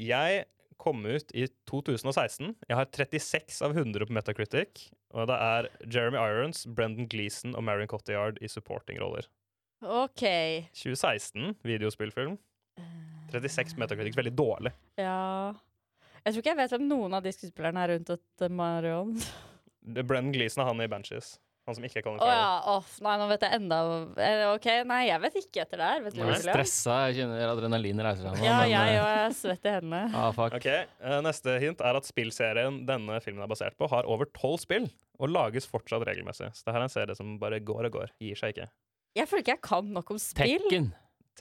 [SPEAKER 4] jeg kom ut i 2016. Jeg har 36 av 100 på Metacritic. Og det er Jeremy Irons, Brendan Gleeson og Marion Cotillard i supportingroller.
[SPEAKER 3] OK.
[SPEAKER 4] 2016, videospillfilm. 36 på Metacritic, veldig dårlig.
[SPEAKER 3] Ja Jeg tror ikke jeg vet hvem noen av de skuespillerne er rundt et eh, Marion.
[SPEAKER 4] Det- Brendan Gleeson er han i Banshees. Han som ikke er Colin
[SPEAKER 3] Å
[SPEAKER 4] Farrell.
[SPEAKER 3] ja. Off. Nei, nå vet jeg enda eh, OK, nei, jeg vet ikke etter det her. Vet du,
[SPEAKER 5] Jeg blir
[SPEAKER 3] William?
[SPEAKER 5] stressa. Jeg kjenner adrenalinet reiser seg nå.
[SPEAKER 3] Ja,
[SPEAKER 5] men,
[SPEAKER 3] jeg
[SPEAKER 5] eh,
[SPEAKER 3] og jeg er svett i hendene.
[SPEAKER 5] Ah, fuck.
[SPEAKER 4] Ok, eh, Neste hint er at spillserien denne filmen er basert på, har over tolv spill og lages fortsatt regelmessig. Så det her er en serie som bare går og går. Gir seg ikke.
[SPEAKER 3] Jeg føler ikke jeg kan nok om spill.
[SPEAKER 5] Tekken.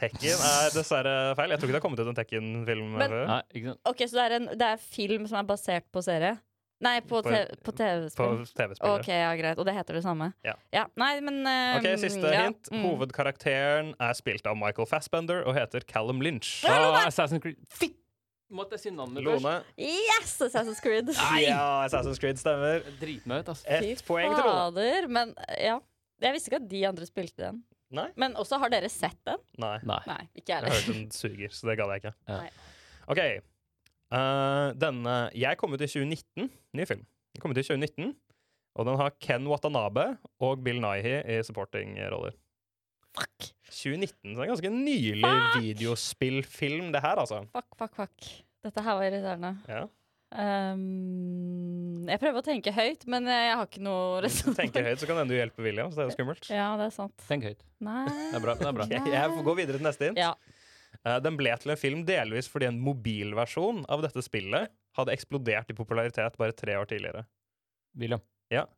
[SPEAKER 4] Tekken
[SPEAKER 3] [laughs]
[SPEAKER 4] er dessverre feil. Jeg tror ikke det har kommet ut en Tekken-film
[SPEAKER 3] Men-
[SPEAKER 4] før.
[SPEAKER 5] Nei, ikke sant?
[SPEAKER 3] Ok, Så det er, en, det er film som er basert på serie? Nei, på,
[SPEAKER 4] På-
[SPEAKER 3] te- på
[SPEAKER 4] På
[SPEAKER 3] TV-spill.
[SPEAKER 4] TV-spillet.
[SPEAKER 3] Ok, ja, greit. Og det heter det samme?
[SPEAKER 4] Ja.
[SPEAKER 3] Nei, men eh,
[SPEAKER 4] Ok, Siste
[SPEAKER 3] ja,
[SPEAKER 4] hint.
[SPEAKER 3] mm.
[SPEAKER 4] Hovedkarakteren er spilt av Michael Fassbender og heter Callum Lynch.
[SPEAKER 5] Ah, Assassin's Creed. Fitt! Måtte jeg si navnet først?
[SPEAKER 4] Lone.
[SPEAKER 3] Yes, Assassin's Creed!
[SPEAKER 4] Ja, Assassin's Creed stemmer.
[SPEAKER 5] Drit meg ut, ass.
[SPEAKER 3] Fy
[SPEAKER 4] Ett poeng til Lone.
[SPEAKER 3] fader. Men eh, ja. Jeg visste ikke at de andre spilte den.
[SPEAKER 4] Nei.
[SPEAKER 3] Men også, har dere sett den?
[SPEAKER 4] Nei.
[SPEAKER 5] Nei.
[SPEAKER 3] Nei, ikke jeg
[SPEAKER 4] Jeg hørte
[SPEAKER 3] heller.
[SPEAKER 4] den suger, så det gadd jeg ikke.
[SPEAKER 5] Ja.
[SPEAKER 3] Nei.
[SPEAKER 4] OK. eh, denne Jeg kom ut i 2019. Ny film. Den kom ut i 2019, og den har Ken Watanabe og Bill Nighy i supporting-roller.
[SPEAKER 3] Fuck,
[SPEAKER 4] 2019, så det er en ganske nylig
[SPEAKER 3] Fuck!
[SPEAKER 4] videospillfilm, det her, altså.
[SPEAKER 3] fuck, fuck. fuck. Dette her var irriterende.
[SPEAKER 4] Ja.
[SPEAKER 3] Ehm, jeg prøver å tenke høyt, men eh, jeg har ikke noe
[SPEAKER 4] Hvis du tenker høyt, så kan det hende du hjelper William, så det er jo skummelt.
[SPEAKER 3] Ja, det er sant.
[SPEAKER 5] Tenk høyt.
[SPEAKER 3] Nei
[SPEAKER 5] Det er bra. det er bra.
[SPEAKER 4] Ok, jeg får gå videre til neste hint.
[SPEAKER 3] Ja.
[SPEAKER 4] Eh, den ble til en film delvis fordi en mobilversjon av dette spillet hadde eksplodert i popularitet bare tre år tidligere.
[SPEAKER 5] William.
[SPEAKER 4] Ja. Mhm.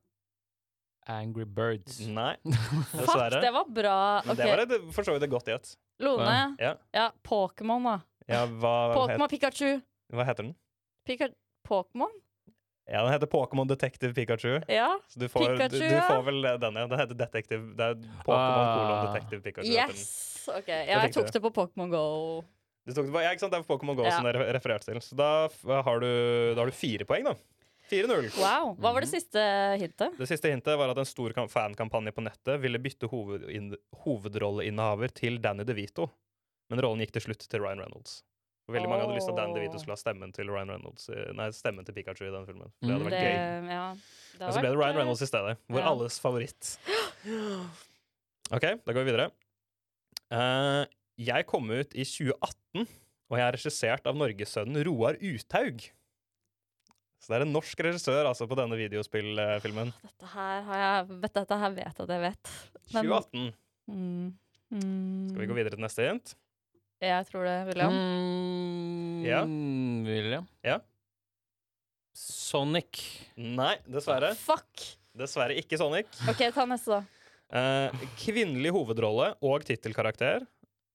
[SPEAKER 5] Angry Birds.
[SPEAKER 4] Nei,
[SPEAKER 3] Fuck,
[SPEAKER 4] dessverre.
[SPEAKER 3] det var bra.
[SPEAKER 4] Men det
[SPEAKER 3] Ok.
[SPEAKER 4] var et, for så vidt et godt gjett.
[SPEAKER 3] Lone.
[SPEAKER 4] Ja.
[SPEAKER 3] Ja, Pokémon, da.
[SPEAKER 4] Ja, hva, het,
[SPEAKER 3] Pokémon Pikachu.
[SPEAKER 4] hva heter den?
[SPEAKER 3] Pika Pokémon?
[SPEAKER 4] Ja, Den heter Pokémon Detective Pikachu.
[SPEAKER 3] Ja.
[SPEAKER 4] Så du får,
[SPEAKER 3] Pikachu,
[SPEAKER 4] du, du
[SPEAKER 3] ja.
[SPEAKER 4] får vel den, ja. Den heter Detective. Det er Pokémon
[SPEAKER 5] Ah.
[SPEAKER 4] kolon Detective Pikachu. heter den.
[SPEAKER 3] Yes! Ok, ja, jeg
[SPEAKER 4] tenkte
[SPEAKER 3] tok
[SPEAKER 4] jeg.
[SPEAKER 3] det på Pokémon Go.
[SPEAKER 4] Du tok det på, ja, ikke sant? Det er Pokémon Go
[SPEAKER 3] Ja.
[SPEAKER 4] som det er refer- referert til. Så da f- har du, da har du fire poeng, da. 4-0.
[SPEAKER 3] Wow. Hva
[SPEAKER 4] Mhm.
[SPEAKER 3] var det siste hintet?
[SPEAKER 4] Det siste hintet var at en stor kam- fankampanje på nettet ville bytte hovedinn- hovedrolleinnehaver til Danny DeVito, men rollen gikk til slutt til Ryan Reynolds. Og veldig mange hadde lyst til at Danny
[SPEAKER 3] Åh.
[SPEAKER 4] DeVito skulle ha stemmen til Ryan Reynolds i- Nei, stemmen til Pikachu i den filmen. For det
[SPEAKER 5] Mm.
[SPEAKER 4] hadde vært
[SPEAKER 3] Det,
[SPEAKER 4] gøy.
[SPEAKER 3] ja, det eh,
[SPEAKER 4] Men så ble det Ryan Reynolds i stedet, hvor
[SPEAKER 3] ja.
[SPEAKER 4] alles
[SPEAKER 3] [gasps]
[SPEAKER 4] favoritt. OK, da går vi videre. Eh, jeg kom ut i 2018, og jeg er regissert av norgessønnen Roar Uthaug. Så det er en norsk regissør altså på denne videospillfilmen.
[SPEAKER 3] Dette her har jeg vet, Dette her vet jeg at jeg vet. Men-
[SPEAKER 4] 2018.
[SPEAKER 3] Mm.
[SPEAKER 4] Skal vi gå videre til neste hint?
[SPEAKER 3] Jeg tror det, William.
[SPEAKER 5] Mm,
[SPEAKER 4] Ja.
[SPEAKER 5] William.
[SPEAKER 4] Ja.
[SPEAKER 5] Sonic.
[SPEAKER 4] Nei, dessverre.
[SPEAKER 3] Fuck!
[SPEAKER 4] Dessverre ikke Sonic.
[SPEAKER 3] OK, ta neste, da.
[SPEAKER 4] Eh, kvinnelig hovedrolle og tittelkarakter.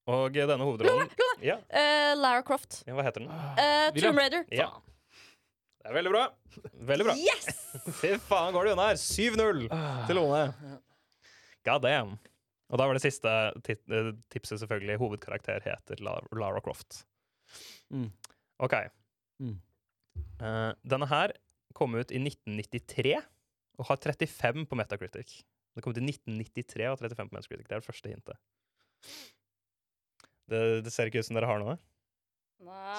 [SPEAKER 4] Og denne hovedrollen Ja,
[SPEAKER 3] Eh, Lara Croft.
[SPEAKER 4] ja, hva heter den?
[SPEAKER 3] Eh,
[SPEAKER 5] William.
[SPEAKER 3] Tomb Raider.
[SPEAKER 4] Ja. Det er veldig bra. Veldig bra.
[SPEAKER 3] Yes!
[SPEAKER 4] Fy faen, går det unna her? 7-0 til Lone. God damn. Og da var det siste tit eh, tipset selvfølgelig hovedkarakter heter La Lara Croft.
[SPEAKER 5] Mm.
[SPEAKER 4] OK.
[SPEAKER 5] Mm.
[SPEAKER 4] Eh, denne her kom ut i 1993 og har 35 på Metacritic. Den kom ut i 1993 og har 35 på Metacritic. Det er det første hintet. Det, det ser ikke ut som dere har noe.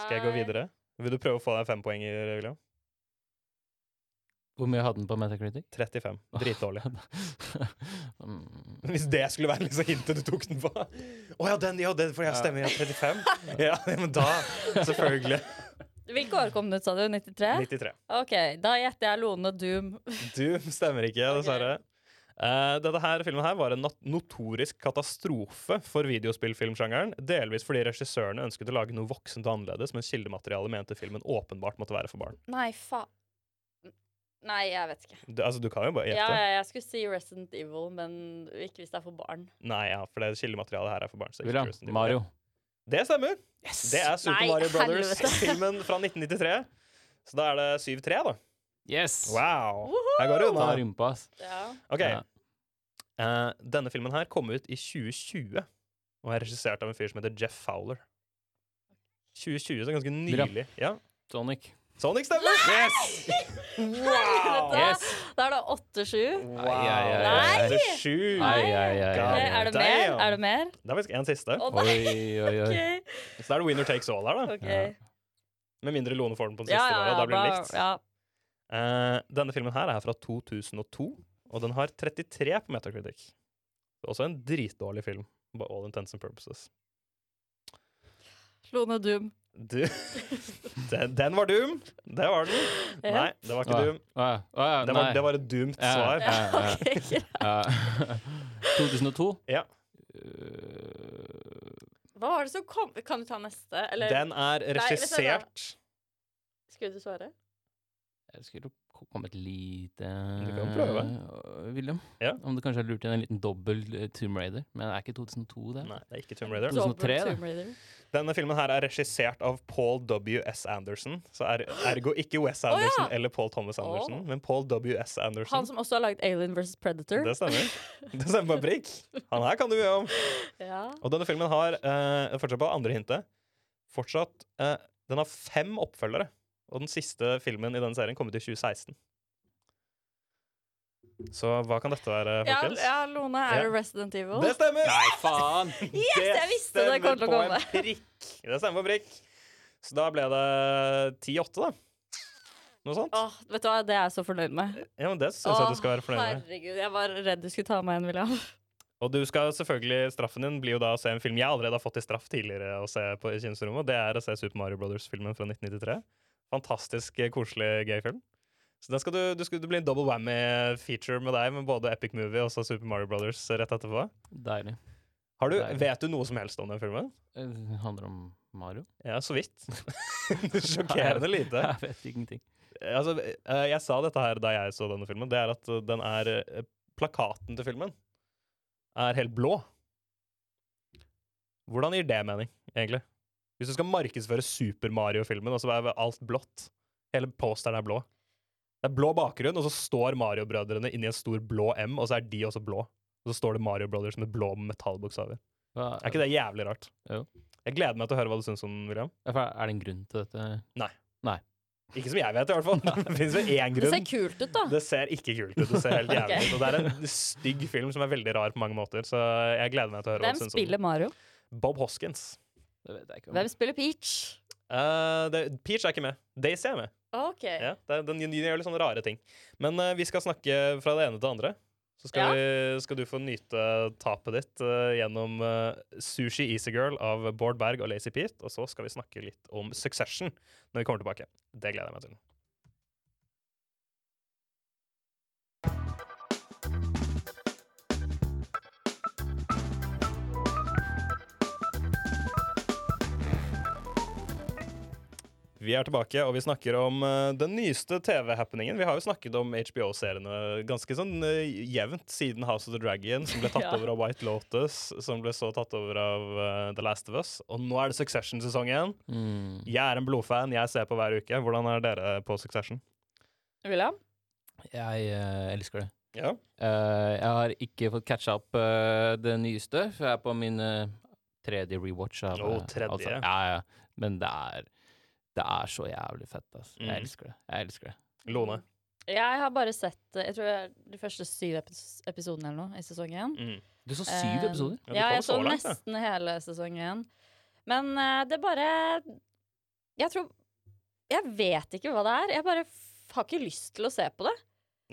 [SPEAKER 4] Skal jeg gå videre? Vil du prøve å få deg fem poenger, William?
[SPEAKER 5] Hvor mye hadde den på Metacritic? [laughs]
[SPEAKER 4] 35. Dritdårlig.
[SPEAKER 5] Mm.
[SPEAKER 4] [laughs] Hvis det skulle være liksom hintet du tok den på. Å ja, den, ja, den, for jeg stemmer ja 35.
[SPEAKER 3] [laughs]
[SPEAKER 4] Ja, men da Selvfølgelig.
[SPEAKER 3] Hvilke år kom den ut, sa du? 93?
[SPEAKER 4] 93.
[SPEAKER 3] OK, da gjetter jeg Lone Doom.
[SPEAKER 4] Du stemmer ikke, dessverre. Eh, dette her, filmen her var en not notorisk katastrofe for videospillfilmsjangeren. Delvis fordi regissørene ønsket å lage noe voksent og annerledes, men kildematerialet mente filmen åpenbart måtte være for barn.
[SPEAKER 3] Nei, faen. Nei, jeg vet ikke.
[SPEAKER 4] Du, altså, du kan jo bare
[SPEAKER 3] Ja,
[SPEAKER 4] gjette.
[SPEAKER 3] ja, jeg skulle si Resident Evil, men ikke hvis det er for barn.
[SPEAKER 4] Nei, ja, for det kildematerialet her er for barn. så ikke
[SPEAKER 5] William.
[SPEAKER 4] Resident Evil.
[SPEAKER 5] Mario.
[SPEAKER 4] Det stemmer. Det er Super
[SPEAKER 3] Nei,
[SPEAKER 4] Mario Brothers,
[SPEAKER 3] helvete.
[SPEAKER 4] [laughs] filmen fra 1993. Så da er det 7-3, da.
[SPEAKER 5] Yes!
[SPEAKER 4] Wow! Her går det
[SPEAKER 5] Ta
[SPEAKER 4] unna.
[SPEAKER 5] rumpa, ass.
[SPEAKER 3] Ja.
[SPEAKER 4] Ok,
[SPEAKER 5] Ja.
[SPEAKER 4] eh, Denne filmen her kom ut i 2020 og er regissert av en fyr som heter Jeff Fowler. 2020, så ganske nylig. Ja.
[SPEAKER 5] Sonic.
[SPEAKER 4] Sonic stemmer! [laughs] Wow!
[SPEAKER 3] Helvete! Da er det 8-7.
[SPEAKER 4] Wow.
[SPEAKER 5] Ai, ai, ai,
[SPEAKER 3] ai.
[SPEAKER 4] Det er sju.
[SPEAKER 5] Ai, ai, ai,
[SPEAKER 4] Ja,
[SPEAKER 3] Ok,
[SPEAKER 5] ai.
[SPEAKER 3] er det
[SPEAKER 4] damn.
[SPEAKER 3] mer? Er det mer?
[SPEAKER 4] Det er faktisk en siste.
[SPEAKER 3] Å nei!
[SPEAKER 5] Oi, oi, oi.
[SPEAKER 3] Ok.
[SPEAKER 4] Så da er det winner takes all her, da.
[SPEAKER 3] ok.
[SPEAKER 5] Ja.
[SPEAKER 4] Med mindre Lone får den på den
[SPEAKER 3] Ja, ja,
[SPEAKER 4] siste. da, og
[SPEAKER 3] ja,
[SPEAKER 4] da blir det
[SPEAKER 3] bra,
[SPEAKER 4] likt.
[SPEAKER 3] ja.
[SPEAKER 4] Eh, denne filmen her er fra 2002, og den har 33 på Metacritic. Det er også en dritdårlig film, by all intents and purposes.
[SPEAKER 3] Lone Doom.
[SPEAKER 4] Du, [laughs] den, den var doom! Det var den.
[SPEAKER 3] Ja.
[SPEAKER 4] Nei, det var ikke
[SPEAKER 5] Åja,
[SPEAKER 4] doom.
[SPEAKER 5] åja, åja,
[SPEAKER 4] Det var,
[SPEAKER 5] nei.
[SPEAKER 4] det var et doomt
[SPEAKER 5] Ja,
[SPEAKER 4] svar.
[SPEAKER 5] ja, ja.
[SPEAKER 3] Ok, greit.
[SPEAKER 5] Ja.
[SPEAKER 4] [laughs]
[SPEAKER 5] [laughs] 2002.
[SPEAKER 4] Ja.
[SPEAKER 5] Øh,
[SPEAKER 3] Hva var det som kom? Kan du ta neste? Eller
[SPEAKER 4] Den
[SPEAKER 3] Nei,
[SPEAKER 4] er
[SPEAKER 3] vet du hva?
[SPEAKER 4] regissert
[SPEAKER 3] skulle du svare?
[SPEAKER 5] jeg skulle ko- komme et lite
[SPEAKER 4] Du kan prøve.
[SPEAKER 5] øh, William,
[SPEAKER 4] Ja.
[SPEAKER 5] om du kanskje har lurt inn en liten dobbel eh, Tomb Raider. Men det er ikke 2002, det.
[SPEAKER 4] Nei, det er ikke Tomb Raider.
[SPEAKER 5] 2003, da.
[SPEAKER 3] Tomb Raider.
[SPEAKER 4] Denne filmen her er regissert av Paul W.S. Anderson. Så er, ergo ikke Wes Anderson
[SPEAKER 3] Å, ja.
[SPEAKER 4] eller Paul Thomas Anderson,
[SPEAKER 3] Å.
[SPEAKER 4] men Paul W.S.
[SPEAKER 3] Han
[SPEAKER 4] Anderson.
[SPEAKER 3] som også har laget Alien vs. Predator.
[SPEAKER 4] Det stemmer.
[SPEAKER 3] [laughs]
[SPEAKER 4] Det stemmer på prikk. Han her kan du mye om.
[SPEAKER 3] Ja.
[SPEAKER 4] Og denne filmen har, eh, fortsatt på det andre hintet, fortsatt eh, Den har fem oppfølgere. Og den siste filmen i denne serien kom ut i 2016. Så hva kan dette være,
[SPEAKER 3] Ja,
[SPEAKER 4] folkens?
[SPEAKER 3] ja, Lone, er
[SPEAKER 4] Ja.
[SPEAKER 3] det Resident Evil?
[SPEAKER 4] Det stemmer!
[SPEAKER 5] Nei, faen!
[SPEAKER 3] [laughs] yes, jeg visste det kom til å komme!
[SPEAKER 4] stemmer på en prikk. Det stemmer på en prikk. Så da ble det 10-8, da. Noe sånt.
[SPEAKER 3] Åh, vet du hva, det er jeg så fornøyd med.
[SPEAKER 4] Ja, men Det syns jeg
[SPEAKER 3] Åh,
[SPEAKER 4] du skal være fornøyd med.
[SPEAKER 3] Herregud, jeg var redd du skulle ta meg en, William.
[SPEAKER 4] Og du skal selvfølgelig, straffen din blir jo da å se en film jeg allerede har fått i straff tidligere å se på i kinserommet. Det er å se Super Mario Brothers-filmen fra 1993. Fantastisk eh, koselig, gøy film. Så den skal du, du skal, det blir en double whammy-feature med deg, med både Epic Movie og så Super Mario Brothers rett etterpå.
[SPEAKER 5] Deilig.
[SPEAKER 4] Har du,
[SPEAKER 5] Deilig.
[SPEAKER 4] vet du noe som helst om den filmen?
[SPEAKER 5] Eh, Det handler om
[SPEAKER 4] [laughs]
[SPEAKER 5] Mario.
[SPEAKER 4] Ja, så vidt. Sjokkerende lite.
[SPEAKER 5] Jeg vet ingenting.
[SPEAKER 4] Altså, eh, jeg sa dette her da jeg så denne filmen. Det er at eh, den er eh, Plakaten til filmen er helt blå. Hvordan gir det mening, egentlig? Hvis du skal markedsføre Super Mario-filmen, og så er alt blått Hele posteren er blå. Det er blå bakgrunn, og så står Mario-brødrene inni en stor blå M, og så er de også blå. Og så står det Mario Brothers med blå metallbokstaver.
[SPEAKER 5] Hva,
[SPEAKER 4] Er ikke det jævlig rart?
[SPEAKER 5] Jo.
[SPEAKER 4] Jeg gleder meg til å høre hva du syns om den, William.
[SPEAKER 5] Ja, for Er det en grunn til dette?
[SPEAKER 4] Ikke som jeg vet, i hvert fall. Det fins vel én
[SPEAKER 3] Det
[SPEAKER 4] grunn.
[SPEAKER 3] ser kult ut, da.
[SPEAKER 4] Det ser ikke kult ut. Det ser helt jævlig
[SPEAKER 3] Ok.
[SPEAKER 4] ut. Og det er en stygg film som er veldig rar på mange måter, så jeg gleder meg til å høre
[SPEAKER 3] Hvem
[SPEAKER 4] hva du syns om
[SPEAKER 3] spiller
[SPEAKER 4] den.
[SPEAKER 3] Mario?
[SPEAKER 4] Bob Hoskins.
[SPEAKER 5] Det vet jeg ikke. om.
[SPEAKER 3] Hvem spiller Peach?
[SPEAKER 4] Eh, det, Peach er ikke med. Daisy er med.
[SPEAKER 3] OK.
[SPEAKER 4] Ja, det er, den, de gjør litt sånne rare ting. Men eh, vi skal snakke fra det ene til det andre. Så skal,
[SPEAKER 3] Ja.
[SPEAKER 4] vi, skal du få nyte tapet ditt eh, gjennom eh, Sushi Easy Girl av Bård Berg og Lazy Pete. Og så skal vi snakke litt om Succession når vi kommer tilbake. Det gleder jeg meg til. Vi er tilbake, og vi snakker om eh, den nyeste TV-happeningen. Vi har jo snakket om HBO-seriene ganske sånn eh, jevnt siden House of the Dragon, som ble tatt
[SPEAKER 3] Ja.
[SPEAKER 4] over av White Lotus, som ble så tatt over av eh, The Last of Us. Og nå er det Succession-sesongen.
[SPEAKER 5] Mm.
[SPEAKER 4] Jeg er en blodfan, jeg ser på hver uke. Hvordan er dere på Succession?
[SPEAKER 3] William?
[SPEAKER 5] Jeg eh, elsker det.
[SPEAKER 4] Ja.
[SPEAKER 5] Eh, jeg har ikke fått catcha opp eh, det nyeste, for jeg er på min eh, tredje rewatch. Av,
[SPEAKER 4] Å,
[SPEAKER 5] eh,
[SPEAKER 4] tredje.
[SPEAKER 5] alt sammen. ja, ja. Men det er, det er så jævlig fett. ass.
[SPEAKER 4] Mhm.
[SPEAKER 5] Jeg elsker det. Jeg elsker det.
[SPEAKER 4] Lone.
[SPEAKER 3] Jeg har bare sett eh, jeg tror det er de første syv epis- episodene eller noe i sesong én.
[SPEAKER 4] Mm.
[SPEAKER 5] Du så syv
[SPEAKER 3] Eh,
[SPEAKER 5] episoder.
[SPEAKER 4] Ja, du
[SPEAKER 3] Ja,
[SPEAKER 4] kom
[SPEAKER 3] jeg
[SPEAKER 4] så
[SPEAKER 3] så
[SPEAKER 4] langt, ja.
[SPEAKER 3] nesten hele sesong én. Men eh, det bare Jeg tror Jeg vet ikke hva det er. Jeg bare f har ikke lyst til å se på det.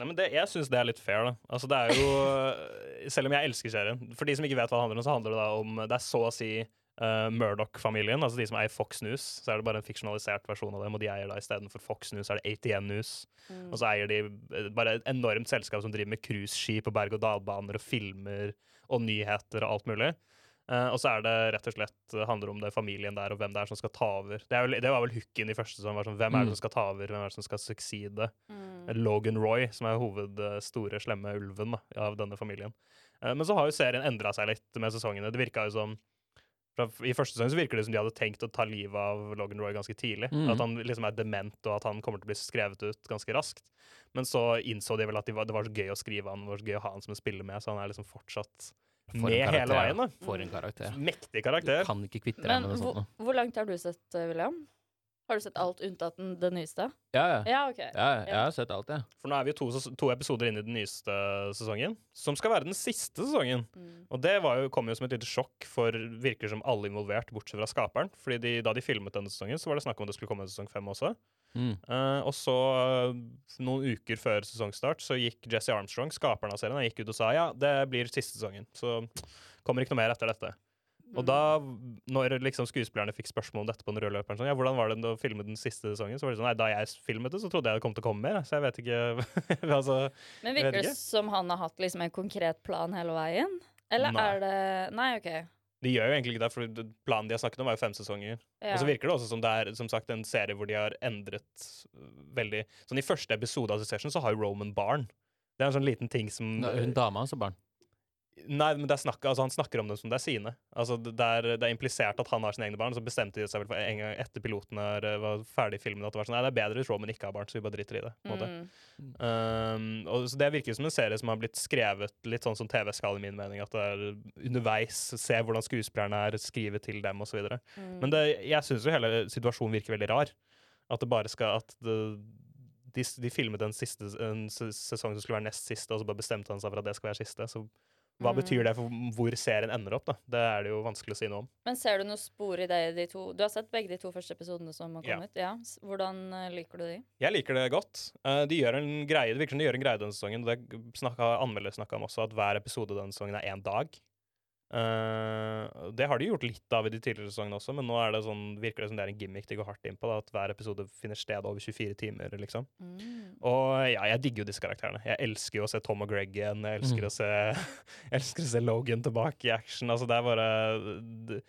[SPEAKER 4] Nei, men det, jeg syns det er litt fair, da. Altså, det er jo [laughs] eh, Selv om jeg elsker serien. For de som ikke vet hva det handler om, så handler det da om Det er så å si eh, Murdoch-familien, altså de som eier Fox News. Så er det bare en fiksjonalisert versjon av dem, og de eier da istedenfor Fox News, er det ATN News. Og så eier de eh, bare et enormt selskap som driver med cruiseskip og berg-og-dal-baner og filmer og nyheter og alt mulig. Eh, og så er det rett og slett eh, handler om det familien der og hvem det er som skal ta over. Det, er vel, det var vel hooken i første sesong. var Sånn, hvem er
[SPEAKER 5] Mm.
[SPEAKER 4] det som skal ta over? Hvem er det som skal succeede?
[SPEAKER 3] Mm.
[SPEAKER 4] Logan Roy, som er hoved eh, store, slemme ulven da, av denne familien. Eh, Men så har jo serien endra seg litt med sesongene. Det virka jo som fra, I første sesong så virker det som de hadde tenkt å ta livet av Logan Roy ganske tidlig.
[SPEAKER 5] Mhm.
[SPEAKER 4] At han liksom er dement, og at han kommer til å bli skrevet ut ganske raskt. Men så innså de vel at de var, det var så gøy å skrive han, det var så gøy å ha han som en spiller med, så han er liksom fortsatt
[SPEAKER 5] For en
[SPEAKER 4] med
[SPEAKER 5] karakter,
[SPEAKER 4] hele veien. da.
[SPEAKER 5] For en karakter.
[SPEAKER 4] Mektig
[SPEAKER 5] Du
[SPEAKER 4] karakter.
[SPEAKER 5] kan ikke kvitte deg
[SPEAKER 3] Men
[SPEAKER 5] med noe
[SPEAKER 3] hvor,
[SPEAKER 5] sånt. nå.
[SPEAKER 3] hvor langt har du sett, eh, William? Har du sett alt unntatt den, den nyeste?
[SPEAKER 5] Ja, ja.
[SPEAKER 3] Ja, OK.
[SPEAKER 5] ja, ja, jeg har sett alt, jeg.
[SPEAKER 4] For nå er vi jo to, ses- to episoder inn i den nyeste sesongen, som skal være den siste sesongen. Og det var jo, kom jo som et lite sjokk for virker som alle involvert, bortsett fra skaperen. Fordi de, da de filmet denne sesongen, så var det snakk om at det skulle komme en sesong fem også.
[SPEAKER 5] Mm.
[SPEAKER 4] Eh, og så, eh, noen uker før sesongstart, så gikk Jesse Armstrong, skaperen av serien, han gikk ut og sa ja, det blir siste sesongen, så kommer ikke noe mer etter dette. Og da, når liksom skuespillerne fikk spørsmål om dette på den røde løperen, sånn, ja, hvordan var det å filme den siste sesongen, så var det sånn, nei, da jeg filmet det, så trodde jeg det kom til å komme mer, så jeg vet ikke, [laughs] altså,
[SPEAKER 3] Men
[SPEAKER 4] jeg vet
[SPEAKER 3] virker det
[SPEAKER 4] ikke.
[SPEAKER 3] som han har hatt liksom en konkret plan hele veien? Eller
[SPEAKER 4] Nei.
[SPEAKER 3] er det Nei, OK.
[SPEAKER 4] De gjør jo egentlig ikke det, for det- planen de har snakket om, er jo fem sesonger. Og så virker det også som det er som sagt, en serie hvor de har endret øh, veldig Sånn I første episode av Succession så har jo Roman barn. Det er en sånn liten ting som
[SPEAKER 5] Nå, Hun dama altså barn.
[SPEAKER 4] Nei, men det er snakk, altså han snakker om dem som det er sine. Altså Det det er, det er implisert at han har sine egne barn. Så bestemte de seg vel for en gang etter piloten er, eh, var ferdig i filmen at det var sånn, nei, det er bedre hvis Roman ikke har barn, så vi bare driter i det. på en måte.
[SPEAKER 3] Mm.
[SPEAKER 4] Um, og, så Det virker som en serie som har blitt skrevet litt sånn som TV skal, i min mening. At det er underveis, se hvordan skuespillerne er, skrive til dem osv. videre Men det, jeg syns jo hele situasjonen virker veldig rar. At det bare skal at det, de, s- de filmet en, siste, en se- sesong som skulle være nest siste, og så bare bestemte han seg for at det skal være siste. Så hva
[SPEAKER 3] Mm.
[SPEAKER 4] betyr det for hvor serien ender opp? da? Det er det jo vanskelig å si noe om.
[SPEAKER 3] Men ser du noe spor i det i de to Du har sett begge de to første episodene som har
[SPEAKER 4] Ja.
[SPEAKER 3] kommet? Ja. S- Hvordan eh, liker du de?
[SPEAKER 4] Jeg liker det godt. Eh, de gjør en greie, Det virker som de gjør en greie denne sesongen. og Det snakka, anmelder snakka om også, at hver episode denne sesongen er én dag. Eh, det har de gjort litt av i de tidligere sesongene også, men nå er det sånn, virker det som det er en gimmick de går hardt inn på. Da, at hver episode finner sted over 24 timer. liksom.
[SPEAKER 5] Mm.
[SPEAKER 4] Og ja, jeg digger jo disse karakterene. Jeg elsker jo å se Tom og Greg igjen. Jeg elsker,
[SPEAKER 5] Mm.
[SPEAKER 4] å, se, [laughs] jeg elsker å se Logan tilbake i action. Altså, det er bare d-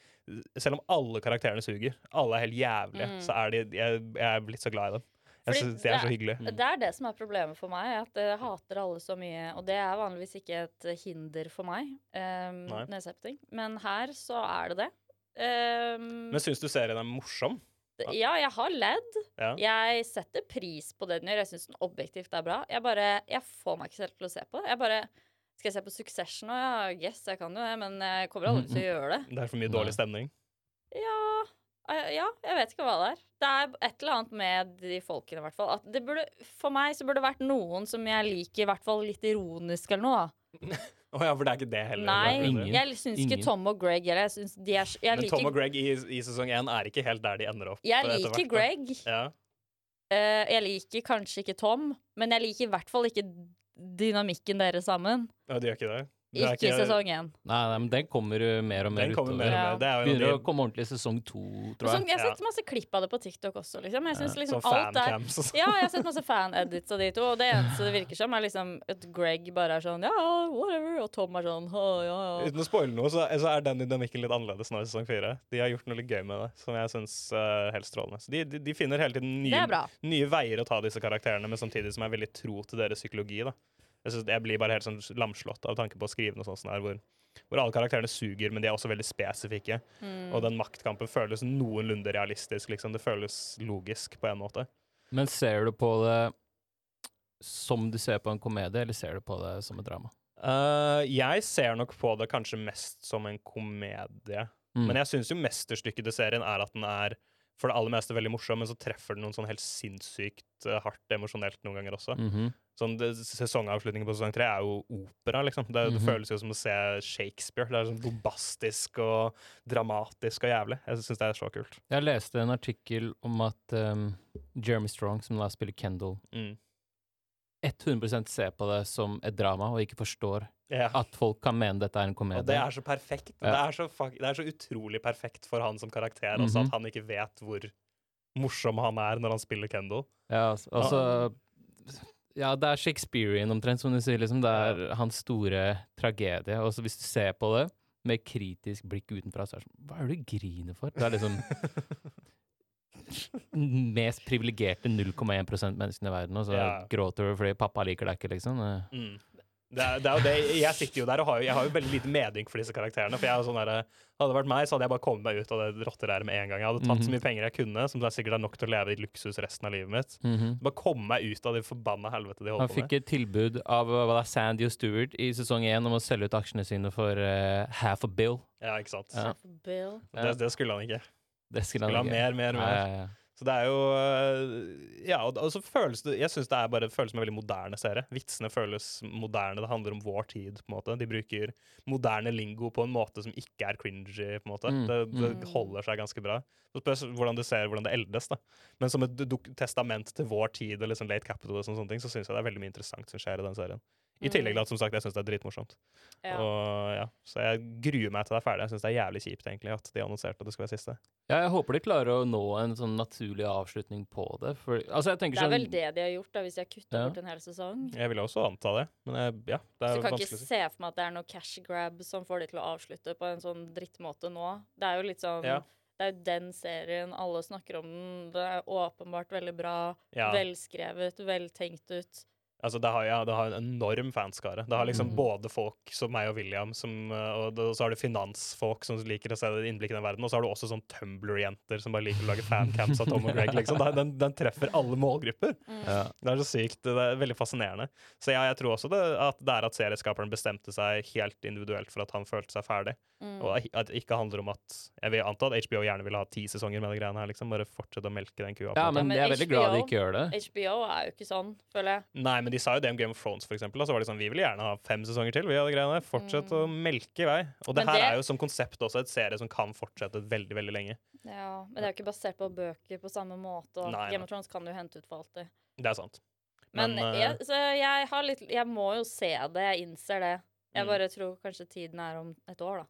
[SPEAKER 4] Selv om alle karakterene suger, alle er helt jævlige,
[SPEAKER 3] Mm.
[SPEAKER 4] så er de Jeg, jeg er blitt så glad i dem. Jeg
[SPEAKER 3] Fordi
[SPEAKER 4] synes de er så
[SPEAKER 3] det-
[SPEAKER 4] hyggelige.
[SPEAKER 3] Det er Mm. det som er problemet for meg, at jeg hater alle så mye. Og det er vanligvis ikke et hinder for meg, um,
[SPEAKER 4] Nei.
[SPEAKER 3] når jeg ser på ting. Men her så er det det. Ehm,
[SPEAKER 4] Men syns du serien er morsom?
[SPEAKER 3] d- ja, jeg har ledd.
[SPEAKER 4] Ja.
[SPEAKER 3] Jeg setter pris på det den gjør. Jeg syns den objektivt er bra. Jeg bare, jeg får meg ikke selv til å se på det. Jeg bare Skal jeg se på Succession nå? Ja, yes, jeg kan jo det, men jeg kommer aldri til å
[SPEAKER 4] [laughs]
[SPEAKER 3] gjøre det.
[SPEAKER 4] Det er for mye
[SPEAKER 5] Nei.
[SPEAKER 4] dårlig stemning.
[SPEAKER 3] Ja eh, Ja, jeg vet ikke hva det er. Det er et eller annet med de folkene, i hvert fall. At det burde, for meg så burde det vært noen som jeg liker, i hvert fall litt ironisk eller noe. da.
[SPEAKER 4] Å ja, for det er ikke det heller.
[SPEAKER 3] Nei,
[SPEAKER 5] Ingen.
[SPEAKER 3] jeg syns ikke
[SPEAKER 5] Ingen.
[SPEAKER 3] Tom og Greg heller. Jeg, synes de er, s- jeg
[SPEAKER 4] Men Tom og
[SPEAKER 3] liker,
[SPEAKER 4] Greg i, i sesong én er ikke helt der de ender opp. eh,
[SPEAKER 3] jeg
[SPEAKER 4] etter
[SPEAKER 3] liker
[SPEAKER 4] hvert, da.
[SPEAKER 3] Greg.
[SPEAKER 4] Ja.
[SPEAKER 3] Eh, jeg liker kanskje ikke Tom, men jeg liker i hvert fall ikke dynamikken deres sammen.
[SPEAKER 4] ja, de gjør ikke det. Det er
[SPEAKER 3] Ikke i sesong én.
[SPEAKER 5] Nei, nei, men den kommer uh, mer og mer
[SPEAKER 4] Den kommer
[SPEAKER 5] utover.
[SPEAKER 4] mer
[SPEAKER 3] Ja.
[SPEAKER 4] og mer. Det er jo en
[SPEAKER 5] Begynner
[SPEAKER 4] av
[SPEAKER 5] å
[SPEAKER 4] de
[SPEAKER 5] komme ordentlig i sesong to, tror
[SPEAKER 3] Sånn,
[SPEAKER 5] jeg.
[SPEAKER 3] jeg har
[SPEAKER 4] Ja.
[SPEAKER 3] sett masse klipp av det på TikTok også. Liksom. Jeg synes, liksom,
[SPEAKER 4] sånn
[SPEAKER 3] alt er
[SPEAKER 4] fancams og sånn.
[SPEAKER 3] Ja, jeg har sett masse fan-edits av de to, og det eneste det virker som, er liksom at Greg bare er sånn ja, whatever, og Tom er sånn «Å, ja, ja.
[SPEAKER 4] Uten å spoile noe, så, så er den dynamikken litt annerledes nå i sesong fire. De har gjort noe litt gøy med det, som jeg syns er helt strålende. Så de, de, de finner hele tiden
[SPEAKER 3] Det er
[SPEAKER 4] nye,
[SPEAKER 3] bra.
[SPEAKER 4] nye veier å ta disse karakterene, men samtidig som er veldig tro til deres psykologi. da. Jeg, synes, jeg blir bare helt sånn lamslått av tanke på å skrive noe sånt som det her, hvor, hvor alle karakterene suger, men de er også veldig spesifikke.
[SPEAKER 3] Mm.
[SPEAKER 4] Og den maktkampen føles noenlunde realistisk, liksom. Det føles logisk på en måte.
[SPEAKER 5] Men ser du på det som du ser på en komedie, eller ser du på det som et drama?
[SPEAKER 4] Eh, jeg ser nok på det kanskje mest som en komedie.
[SPEAKER 5] Mm.
[SPEAKER 4] Men jeg syns jo mesterstykket til serien er at den er for det aller meste veldig morsom, men så treffer den noen sånn helt sinnssykt eh, hardt emosjonelt noen ganger også.
[SPEAKER 5] Mhm.
[SPEAKER 4] Sånn, det, sesongavslutningen på sesong tre er jo opera, liksom. Det, er jo- det
[SPEAKER 5] Mhm.
[SPEAKER 4] føles jo som å se Shakespeare. Det er sånn bombastisk og dramatisk og jævlig. Jeg syns det er så kult.
[SPEAKER 5] Jeg leste en artikkel om at um, Jeremy Strong, som da spiller Kendal,
[SPEAKER 4] Mm.
[SPEAKER 5] 100 ser på det som et drama, og ikke forstår
[SPEAKER 4] Ja.
[SPEAKER 5] at folk kan mene dette er en
[SPEAKER 4] Og det
[SPEAKER 5] komedie.
[SPEAKER 4] er så perfekt.
[SPEAKER 5] Ah, Ja.
[SPEAKER 4] Det, er så fuck, det er så utrolig perfekt for han som karakter, altså
[SPEAKER 5] Mhm.
[SPEAKER 4] at han ikke vet hvor morsom han er når han spiller Kendal.
[SPEAKER 5] Ja, altså, altså Ja, det er Shakespearean omtrent, som du sier. Liksom. Det er hans store tragedie. Og så hvis du ser på det med kritisk blikk utenfra, så er det sånn Hva er det du griner for? Det er
[SPEAKER 4] [laughs]
[SPEAKER 5] liksom mest privilegerte 0,1 menneskene i verden, og så
[SPEAKER 4] Ja.
[SPEAKER 5] gråter du fordi pappa liker deg ikke, liksom. Eh,
[SPEAKER 4] Mm. Det er, det er jo det, Jeg sitter jo der og har jo, jeg har jo veldig lite medynk for disse karakterene. For jeg er jo sånn der, Hadde det vært meg, så hadde jeg bare kommet meg ut av det rotteræret med en gang. Jeg hadde
[SPEAKER 5] Mhm.
[SPEAKER 4] tatt så mye penger jeg kunne, som det er sikkert er nok til å leve i luksus resten av livet mitt.
[SPEAKER 5] mhm.
[SPEAKER 4] Bare komme meg ut av det forbanna helvete de
[SPEAKER 5] Han
[SPEAKER 4] holder på
[SPEAKER 5] fikk
[SPEAKER 4] med.
[SPEAKER 5] et tilbud av hva det er, Sandy og Stewart i sesong én om å selge ut aksjene sine for eh, half a bill.
[SPEAKER 4] Ja, ikke sant?
[SPEAKER 5] Ja.
[SPEAKER 3] Bill.
[SPEAKER 4] Det, det skulle han ikke.
[SPEAKER 5] Det skulle
[SPEAKER 4] Skulle ha
[SPEAKER 5] han
[SPEAKER 4] mer,
[SPEAKER 5] ikke.
[SPEAKER 4] mer, mer.
[SPEAKER 5] Ja, ja, ja.
[SPEAKER 4] Så det er jo øh, Ja, og, og så føles det Jeg syns det er bare føles som en veldig moderne serie. Vitsene føles moderne. Det handler om vår tid, på en måte. De bruker moderne lingo på en måte som ikke er cringy, på en måte.
[SPEAKER 5] Mm,
[SPEAKER 4] Det, det holder seg ganske bra. Så spørs hvordan du ser hvordan det eldes, da. Men som et dok testament til vår tid og liksom late capital og sånne, sånne ting, så syns jeg det er veldig mye interessant som skjer i den serien.
[SPEAKER 5] Mm.
[SPEAKER 4] I tillegg til at som sagt, jeg syns det er dritmorsomt.
[SPEAKER 3] Ja.
[SPEAKER 4] Og, ja. Så jeg gruer meg til det er ferdig. Jeg syns det er jævlig kjipt egentlig at de annonserte at det skulle være siste.
[SPEAKER 5] Ja, jeg håper de klarer å nå en sånn naturlig avslutning på det. For, altså, jeg
[SPEAKER 3] Det
[SPEAKER 5] tenker
[SPEAKER 3] er
[SPEAKER 5] sånn
[SPEAKER 3] vel det de har gjort, da, hvis de har kutta
[SPEAKER 5] Ja.
[SPEAKER 3] bort en hel sesong.
[SPEAKER 4] Jeg ville også anta det, men jeg, ja, det
[SPEAKER 3] Så
[SPEAKER 4] er
[SPEAKER 3] jeg kan
[SPEAKER 4] vanskelig
[SPEAKER 3] ikke
[SPEAKER 4] å si.
[SPEAKER 3] se for meg at det er noe cash grab som får de til å avslutte på en sånn drittmåte nå. Det er jo litt sånn
[SPEAKER 4] Ja.
[SPEAKER 3] Det er jo den serien, alle snakker om den. Det er åpenbart veldig bra.
[SPEAKER 4] Ja.
[SPEAKER 3] Velskrevet, veltenkt ut.
[SPEAKER 4] Altså, det har, ja, det har en enorm fanskare. Det har
[SPEAKER 5] Mhm.
[SPEAKER 4] liksom både folk som meg og William, som, eh, og, det, og så har du finansfolk som liker å se det innblikk i den verden, og så har du også sånn Tumblr-jenter som bare liker å lage fancamps av Tom og Greg, liksom. Det er- Den, den treffer alle målgrupper.
[SPEAKER 5] Ja.
[SPEAKER 4] Det er så sykt. Det er veldig fascinerende. Så ja, jeg tror også det, at det er at serieskaperen bestemte seg helt individuelt for at han følte seg ferdig, og at det ikke handler om at Jeg vil anta at HBO gjerne ville ha ti sesonger med de greiene her, liksom. Bare fortsette å melke den kua. på en
[SPEAKER 5] Ja,
[SPEAKER 4] måte.
[SPEAKER 5] men
[SPEAKER 3] men
[SPEAKER 5] jeg er veldig glad de
[SPEAKER 3] HBO
[SPEAKER 5] ikke gjør det.
[SPEAKER 3] HBO er jo ikke sånn, føler jeg.
[SPEAKER 4] Nei, men de sa jo det om Game of Thrones, for eksempel. da, Så var det sånn, vi vil gjerne ha fem sesonger til. vi hadde greiene der. Fortsett å melke i vei. Og det
[SPEAKER 3] Mm. Men
[SPEAKER 4] her
[SPEAKER 3] det-
[SPEAKER 4] er jo som konsept også et serie som kan fortsette veldig veldig lenge.
[SPEAKER 3] Ja, men det er jo ikke basert på bøker på samme måte, og
[SPEAKER 4] Nei,
[SPEAKER 3] Game
[SPEAKER 4] nei.
[SPEAKER 3] of Thrones kan du hente ut for alltid.
[SPEAKER 4] Det er sant.
[SPEAKER 3] Men,
[SPEAKER 4] eh,
[SPEAKER 3] jeg, så jeg har litt Jeg må jo se det, jeg innser det. Jeg
[SPEAKER 4] Mm.
[SPEAKER 3] bare tror kanskje tiden er om et år, da.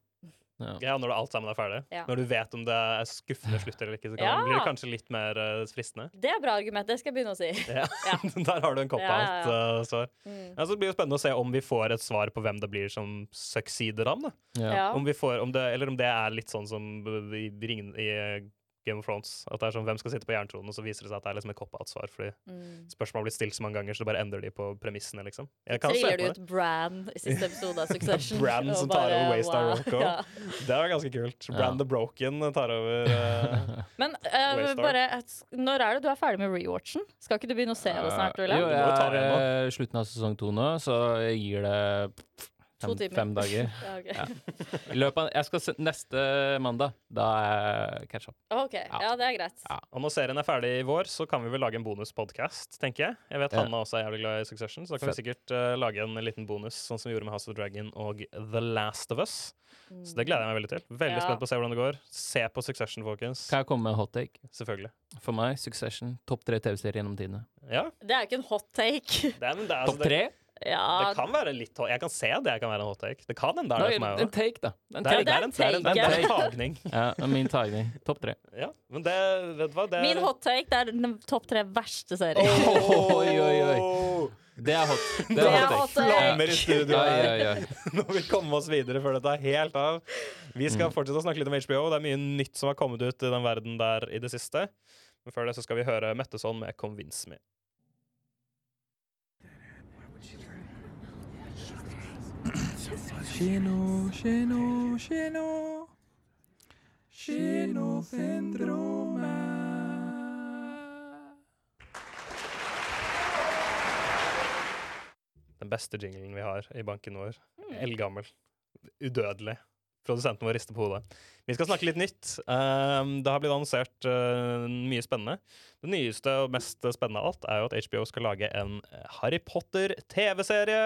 [SPEAKER 4] eh, ja, når alt sammen er ferdig,
[SPEAKER 3] Ja.
[SPEAKER 4] når du vet om det er skuffende slutt eller ikke, så kan,
[SPEAKER 3] Ja.
[SPEAKER 4] blir det kanskje litt mer eh, fristende. [laughs]
[SPEAKER 3] Det er bra argument, det skal jeg begynne å si.
[SPEAKER 4] Ja.
[SPEAKER 3] Ja.
[SPEAKER 4] [laughs] Der har du en
[SPEAKER 3] Ja, ja, ja.
[SPEAKER 4] cop-out-svar.
[SPEAKER 3] Mm.
[SPEAKER 4] eh, Ja, så det blir jo spennende å se om vi får et svar på hvem det blir som succeeder ham. da.
[SPEAKER 5] Ja.
[SPEAKER 3] Ja.
[SPEAKER 4] Om vi får, om det, eller om det er litt sånn som i, ringen, i eh, Game of Thrones. At det er sånn, Hvem skal sitte på jerntronen? Og så viser det seg at det er liksom et cop-out-svar. Fordi
[SPEAKER 3] Mm.
[SPEAKER 4] spørsmål blir stilt så mange ganger, så det bare endrer de på premissene, liksom. Jeg
[SPEAKER 3] Så
[SPEAKER 4] kan se
[SPEAKER 3] triller du
[SPEAKER 4] på
[SPEAKER 3] ut
[SPEAKER 4] det.
[SPEAKER 3] Bran i siste episode
[SPEAKER 4] [laughs]
[SPEAKER 3] av Succession.
[SPEAKER 4] Bran
[SPEAKER 3] og
[SPEAKER 4] som tar
[SPEAKER 3] bare,
[SPEAKER 4] over Waystar
[SPEAKER 3] wow,
[SPEAKER 4] Rock også.
[SPEAKER 3] ja.
[SPEAKER 4] Det er ganske kult. Brand the Broken tar over
[SPEAKER 5] [laughs]
[SPEAKER 4] eh,
[SPEAKER 3] Men eh,
[SPEAKER 4] Waystar.
[SPEAKER 3] bare, når er det du er ferdig med rewatchen? Skal ikke du begynne å se det snart,
[SPEAKER 5] Eh, Jo,
[SPEAKER 3] William?
[SPEAKER 4] Du må jo ta
[SPEAKER 5] jeg er
[SPEAKER 4] igjen
[SPEAKER 5] eh, slutten av sesong to nå, så jeg gir det pff,
[SPEAKER 3] To
[SPEAKER 5] fem,
[SPEAKER 3] timer.
[SPEAKER 5] fem dager.
[SPEAKER 3] [laughs] Ja, ok.
[SPEAKER 5] I løpet av, jeg skal se neste mandag. Da er jeg catch up.
[SPEAKER 3] OK. Ja, det er greit.
[SPEAKER 5] Ja.
[SPEAKER 4] Og når serien er ferdig i vår, så kan vi vel lage en bonuspodkast, tenker jeg. Jeg vet
[SPEAKER 5] Ja.
[SPEAKER 4] Hanna også er jævlig glad i Succession, så da kan vi sikkert eh, lage en liten bonus, sånn som vi gjorde med House of the Dragon og The Last of Us. Så det gleder jeg meg veldig til.
[SPEAKER 3] Mm.
[SPEAKER 4] Veldig
[SPEAKER 3] Ja.
[SPEAKER 4] spent på å se hvordan det går. Se på Succession, folkens.
[SPEAKER 5] Kan jeg komme med en hot take?
[SPEAKER 4] Selvfølgelig.
[SPEAKER 5] For meg, Succession. Topp tre TV-serier gjennom tidene.
[SPEAKER 4] Ja.
[SPEAKER 3] Det er jo ikke en hot take. [laughs]
[SPEAKER 4] Det, er- men det, er- altså,
[SPEAKER 5] Topp
[SPEAKER 4] det,
[SPEAKER 5] tre?
[SPEAKER 3] Ja,
[SPEAKER 4] det kan være litt hot. Jeg kan se det jeg kan være en hot take. Det kan hende det
[SPEAKER 5] Nå,
[SPEAKER 4] er det for meg
[SPEAKER 5] en
[SPEAKER 4] òg.
[SPEAKER 5] take, da. En
[SPEAKER 4] Det er,
[SPEAKER 5] take.
[SPEAKER 4] det er en, det er en, det er en tagning.
[SPEAKER 5] Ja, det er min tagning. Topp tre.
[SPEAKER 4] Ja, men det, vet du hva, det er [laughs]
[SPEAKER 3] Min hot take det er den topp tre verste
[SPEAKER 5] Oh,
[SPEAKER 3] serien.
[SPEAKER 5] Oi, oi, oi. Det er hot. Det er hot take.
[SPEAKER 4] Flammer i studio
[SPEAKER 5] Ja, ja,
[SPEAKER 4] her. [laughs]
[SPEAKER 5] ja.
[SPEAKER 4] Nå må vi komme oss videre før dette er helt av. Vi
[SPEAKER 5] Mm.
[SPEAKER 4] skal fortsette å snakke litt om HBO. Det er mye nytt som har kommet ut i den verden der i det siste. Men før det så skal vi høre Metteson med 'Convince Me'.
[SPEAKER 10] Kino, kino, kino. Kinosyndromet.
[SPEAKER 4] Den beste jinglen vi har i banken vår. Eldgammel. Udødelig. Produsenten vår rister på hodet. Vi skal snakke litt nytt. Um, det har blitt annonsert uh, mye spennende. Det nyeste og mest spennende av alt er jo at HBO skal lage en eh, Harry Potter-TV-serie.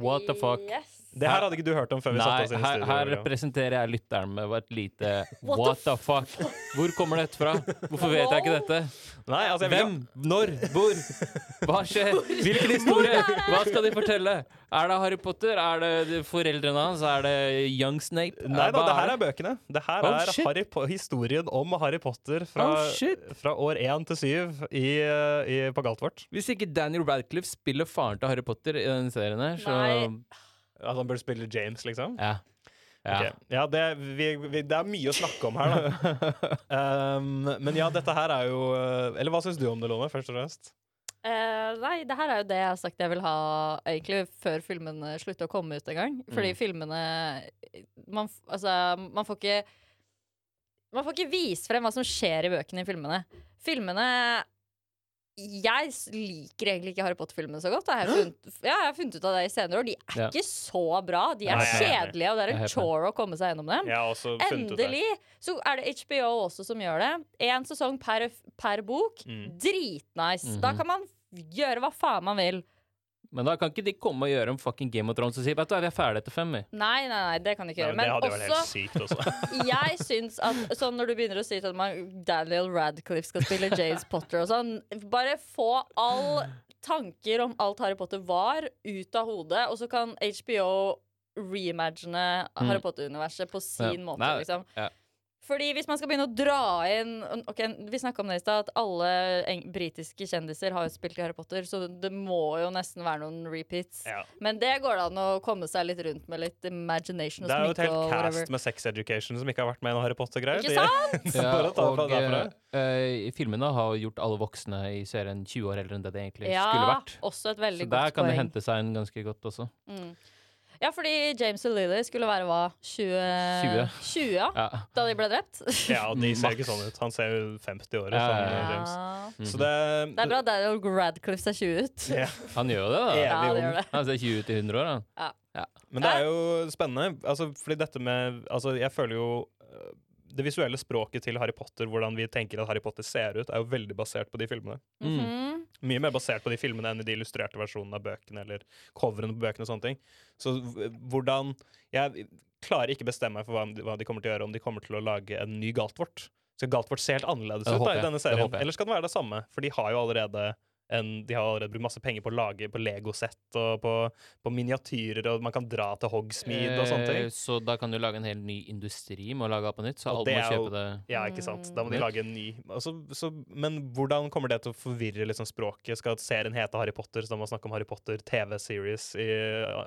[SPEAKER 5] What the fuck?
[SPEAKER 3] Yes.
[SPEAKER 4] Det her hadde ikke du hørt om før vi
[SPEAKER 5] Nei,
[SPEAKER 4] satte oss inn i
[SPEAKER 5] her,
[SPEAKER 4] studio.
[SPEAKER 5] her
[SPEAKER 4] William.
[SPEAKER 5] representerer jeg lytteren med et lite
[SPEAKER 3] [laughs] What
[SPEAKER 5] What the fuck? Hvor kommer dette fra? Hvorfor vet jeg ikke dette?
[SPEAKER 4] Nei, altså, jeg vil
[SPEAKER 5] Hvem? Når? Hvor? Hva skjer? Hvilken historie? Hva skal de fortelle? Er det Harry Potter? Er det de foreldrene hans? Er det Young Snape?
[SPEAKER 4] Nei da,
[SPEAKER 5] Hva
[SPEAKER 4] det her er bøkene. Det her
[SPEAKER 5] Oh,
[SPEAKER 4] er
[SPEAKER 5] shit.
[SPEAKER 4] Harry po historien om Harry Potter fra,
[SPEAKER 5] Oh, shit.
[SPEAKER 4] fra år 1 til 7 i, eh, i, på galt vårt.
[SPEAKER 5] Hvis ikke Daniel Radcliffe spiller faren til Harry Potter i den serien her, så
[SPEAKER 3] Nei.
[SPEAKER 4] At han burde spille James, liksom?
[SPEAKER 5] Ja. ja.
[SPEAKER 4] Ok. ja det, vi, vi, det er mye å snakke om her, da. [laughs] um, men ja, dette her er jo eh, Eller hva syns du om det, Lone? Først og fremst.
[SPEAKER 3] Eh, nei, det her er jo det jeg har sagt jeg vil ha egentlig før filmene slutter å komme ut en gang.
[SPEAKER 5] Mm.
[SPEAKER 3] Fordi filmene man, f- altså, man får ikke Man får ikke vise frem hva som skjer i bøkene i filmene. Filmene Jeg s- liker egentlig ikke Harry Potter-filmene så godt. da. Jeg har,
[SPEAKER 5] [gasps]
[SPEAKER 3] funnet, ja, jeg har funnet ut av det i senere år. De er
[SPEAKER 5] Ja.
[SPEAKER 3] ikke så bra. De er
[SPEAKER 4] Nei, jeg er helt
[SPEAKER 3] kjedelige, og det er
[SPEAKER 5] Jeg er
[SPEAKER 3] en
[SPEAKER 5] helt enig.
[SPEAKER 3] chore å komme seg gjennom dem.
[SPEAKER 4] Jeg har også funnet ut det.
[SPEAKER 3] Endelig så er det HBO også som gjør det. Én sesong per, per bok.
[SPEAKER 4] Mm.
[SPEAKER 3] Dritnice. Da kan man gjøre hva faen man vil.
[SPEAKER 5] Men da kan ikke de komme og gjøre en fucking Game of Thrones og si Vet du hva, vi er ferdig etter fem, vi.
[SPEAKER 3] Nei, nei, nei, det kan du ikke
[SPEAKER 4] Nei,
[SPEAKER 3] gjøre.
[SPEAKER 4] men det
[SPEAKER 3] Men
[SPEAKER 4] hadde jo vært
[SPEAKER 3] også,
[SPEAKER 4] helt sykt også.
[SPEAKER 3] [laughs] jeg syns at sånn når du begynner å si til meg Daniel Radcliffe skal spille James Potter og sånn, bare få all tanker om alt Harry Potter var, ut av hodet, og så kan HBO reimagine
[SPEAKER 5] Mm.
[SPEAKER 3] Harry Potter-universet på sin måte,
[SPEAKER 5] Nei,
[SPEAKER 3] liksom.
[SPEAKER 5] ja.
[SPEAKER 3] Fordi hvis man skal begynne å dra inn Ok, Vi snakka om det i stad, at alle eng britiske kjendiser har jo spilt i Harry Potter, så det må jo nesten være noen repeats.
[SPEAKER 4] Ja.
[SPEAKER 3] Men det går det an å komme seg litt rundt med litt imagination og
[SPEAKER 4] Det er jo et
[SPEAKER 3] sminke
[SPEAKER 4] helt
[SPEAKER 3] og whatever.
[SPEAKER 4] cast med sex education som ikke har vært med i noen Harry Potter-greier.
[SPEAKER 3] Ikke
[SPEAKER 4] De-
[SPEAKER 3] sant?
[SPEAKER 4] så [laughs] bare ta fra
[SPEAKER 5] og
[SPEAKER 4] derfra.
[SPEAKER 5] eh, eh, filmene har gjort alle voksne i serien 20 år eldre enn [laughs] det det egentlig skulle
[SPEAKER 3] Ja,
[SPEAKER 5] vært.
[SPEAKER 3] også et
[SPEAKER 5] Så
[SPEAKER 3] veldig
[SPEAKER 5] der
[SPEAKER 3] godt
[SPEAKER 5] kan det
[SPEAKER 3] poeng.
[SPEAKER 5] hente seg en ganske godt også.
[SPEAKER 3] Ja, fordi James og Lily skulle være hva? 20...
[SPEAKER 5] 20.
[SPEAKER 3] 20, ja.
[SPEAKER 5] Ja.
[SPEAKER 3] Da de ble drept?
[SPEAKER 4] Ja, de ser
[SPEAKER 5] Max.
[SPEAKER 4] ikke sånn ut. Han ser jo 50 år ut.
[SPEAKER 5] Ja,
[SPEAKER 4] sånn,
[SPEAKER 5] ja, ja.
[SPEAKER 4] James.
[SPEAKER 3] [laughs] Ja.
[SPEAKER 4] Så det,
[SPEAKER 3] Det er bra Daniel Radcliffe ser 20 ut.
[SPEAKER 4] Ja.
[SPEAKER 5] Han gjør jo det, da.
[SPEAKER 4] Ja.
[SPEAKER 3] Ja, det gjør det.
[SPEAKER 5] Han ser 20 ut i 100 år, han.
[SPEAKER 4] Men det er jo spennende, altså, fordi dette med altså, Jeg føler jo øh, det visuelle språket til Harry Potter, hvordan vi tenker at Harry Potter ser ut, er jo veldig basert på de filmene.
[SPEAKER 3] Mhm.
[SPEAKER 4] Mye mer basert på de filmene enn i de illustrerte versjonene av bøkene eller coverne på bøkene og sånne ting. Så v- hvordan Jeg klarer ikke bestemme meg for hva de, hva de kommer til å gjøre, om de kommer til å lage en ny Galtvort. Skal Galtvort se helt annerledes
[SPEAKER 5] Det
[SPEAKER 4] ut da,
[SPEAKER 5] håper
[SPEAKER 4] i
[SPEAKER 5] jeg.
[SPEAKER 4] denne
[SPEAKER 5] Det
[SPEAKER 4] serien?
[SPEAKER 5] håper jeg.
[SPEAKER 4] Eller skal den være det samme? For de har jo allerede en, de har allerede brukt masse penger på å lage på legosett og på, på miniatyrer, og man kan dra til Hogsmeade og sånne
[SPEAKER 5] Eh,
[SPEAKER 4] ting.
[SPEAKER 5] Så da kan du lage en hel ny industri med å lage alt på nytt, så
[SPEAKER 4] Og
[SPEAKER 5] alle
[SPEAKER 4] det
[SPEAKER 5] må
[SPEAKER 4] er jo-
[SPEAKER 5] kjøpe det.
[SPEAKER 4] Ja, ikke sant? Da må de
[SPEAKER 5] Mm.
[SPEAKER 4] lage en ny. Altså, så, men hvordan kommer det til å forvirre liksom, språket? Skal serien hete Harry Potter, så da må man snakke om Harry Potter TV-series i,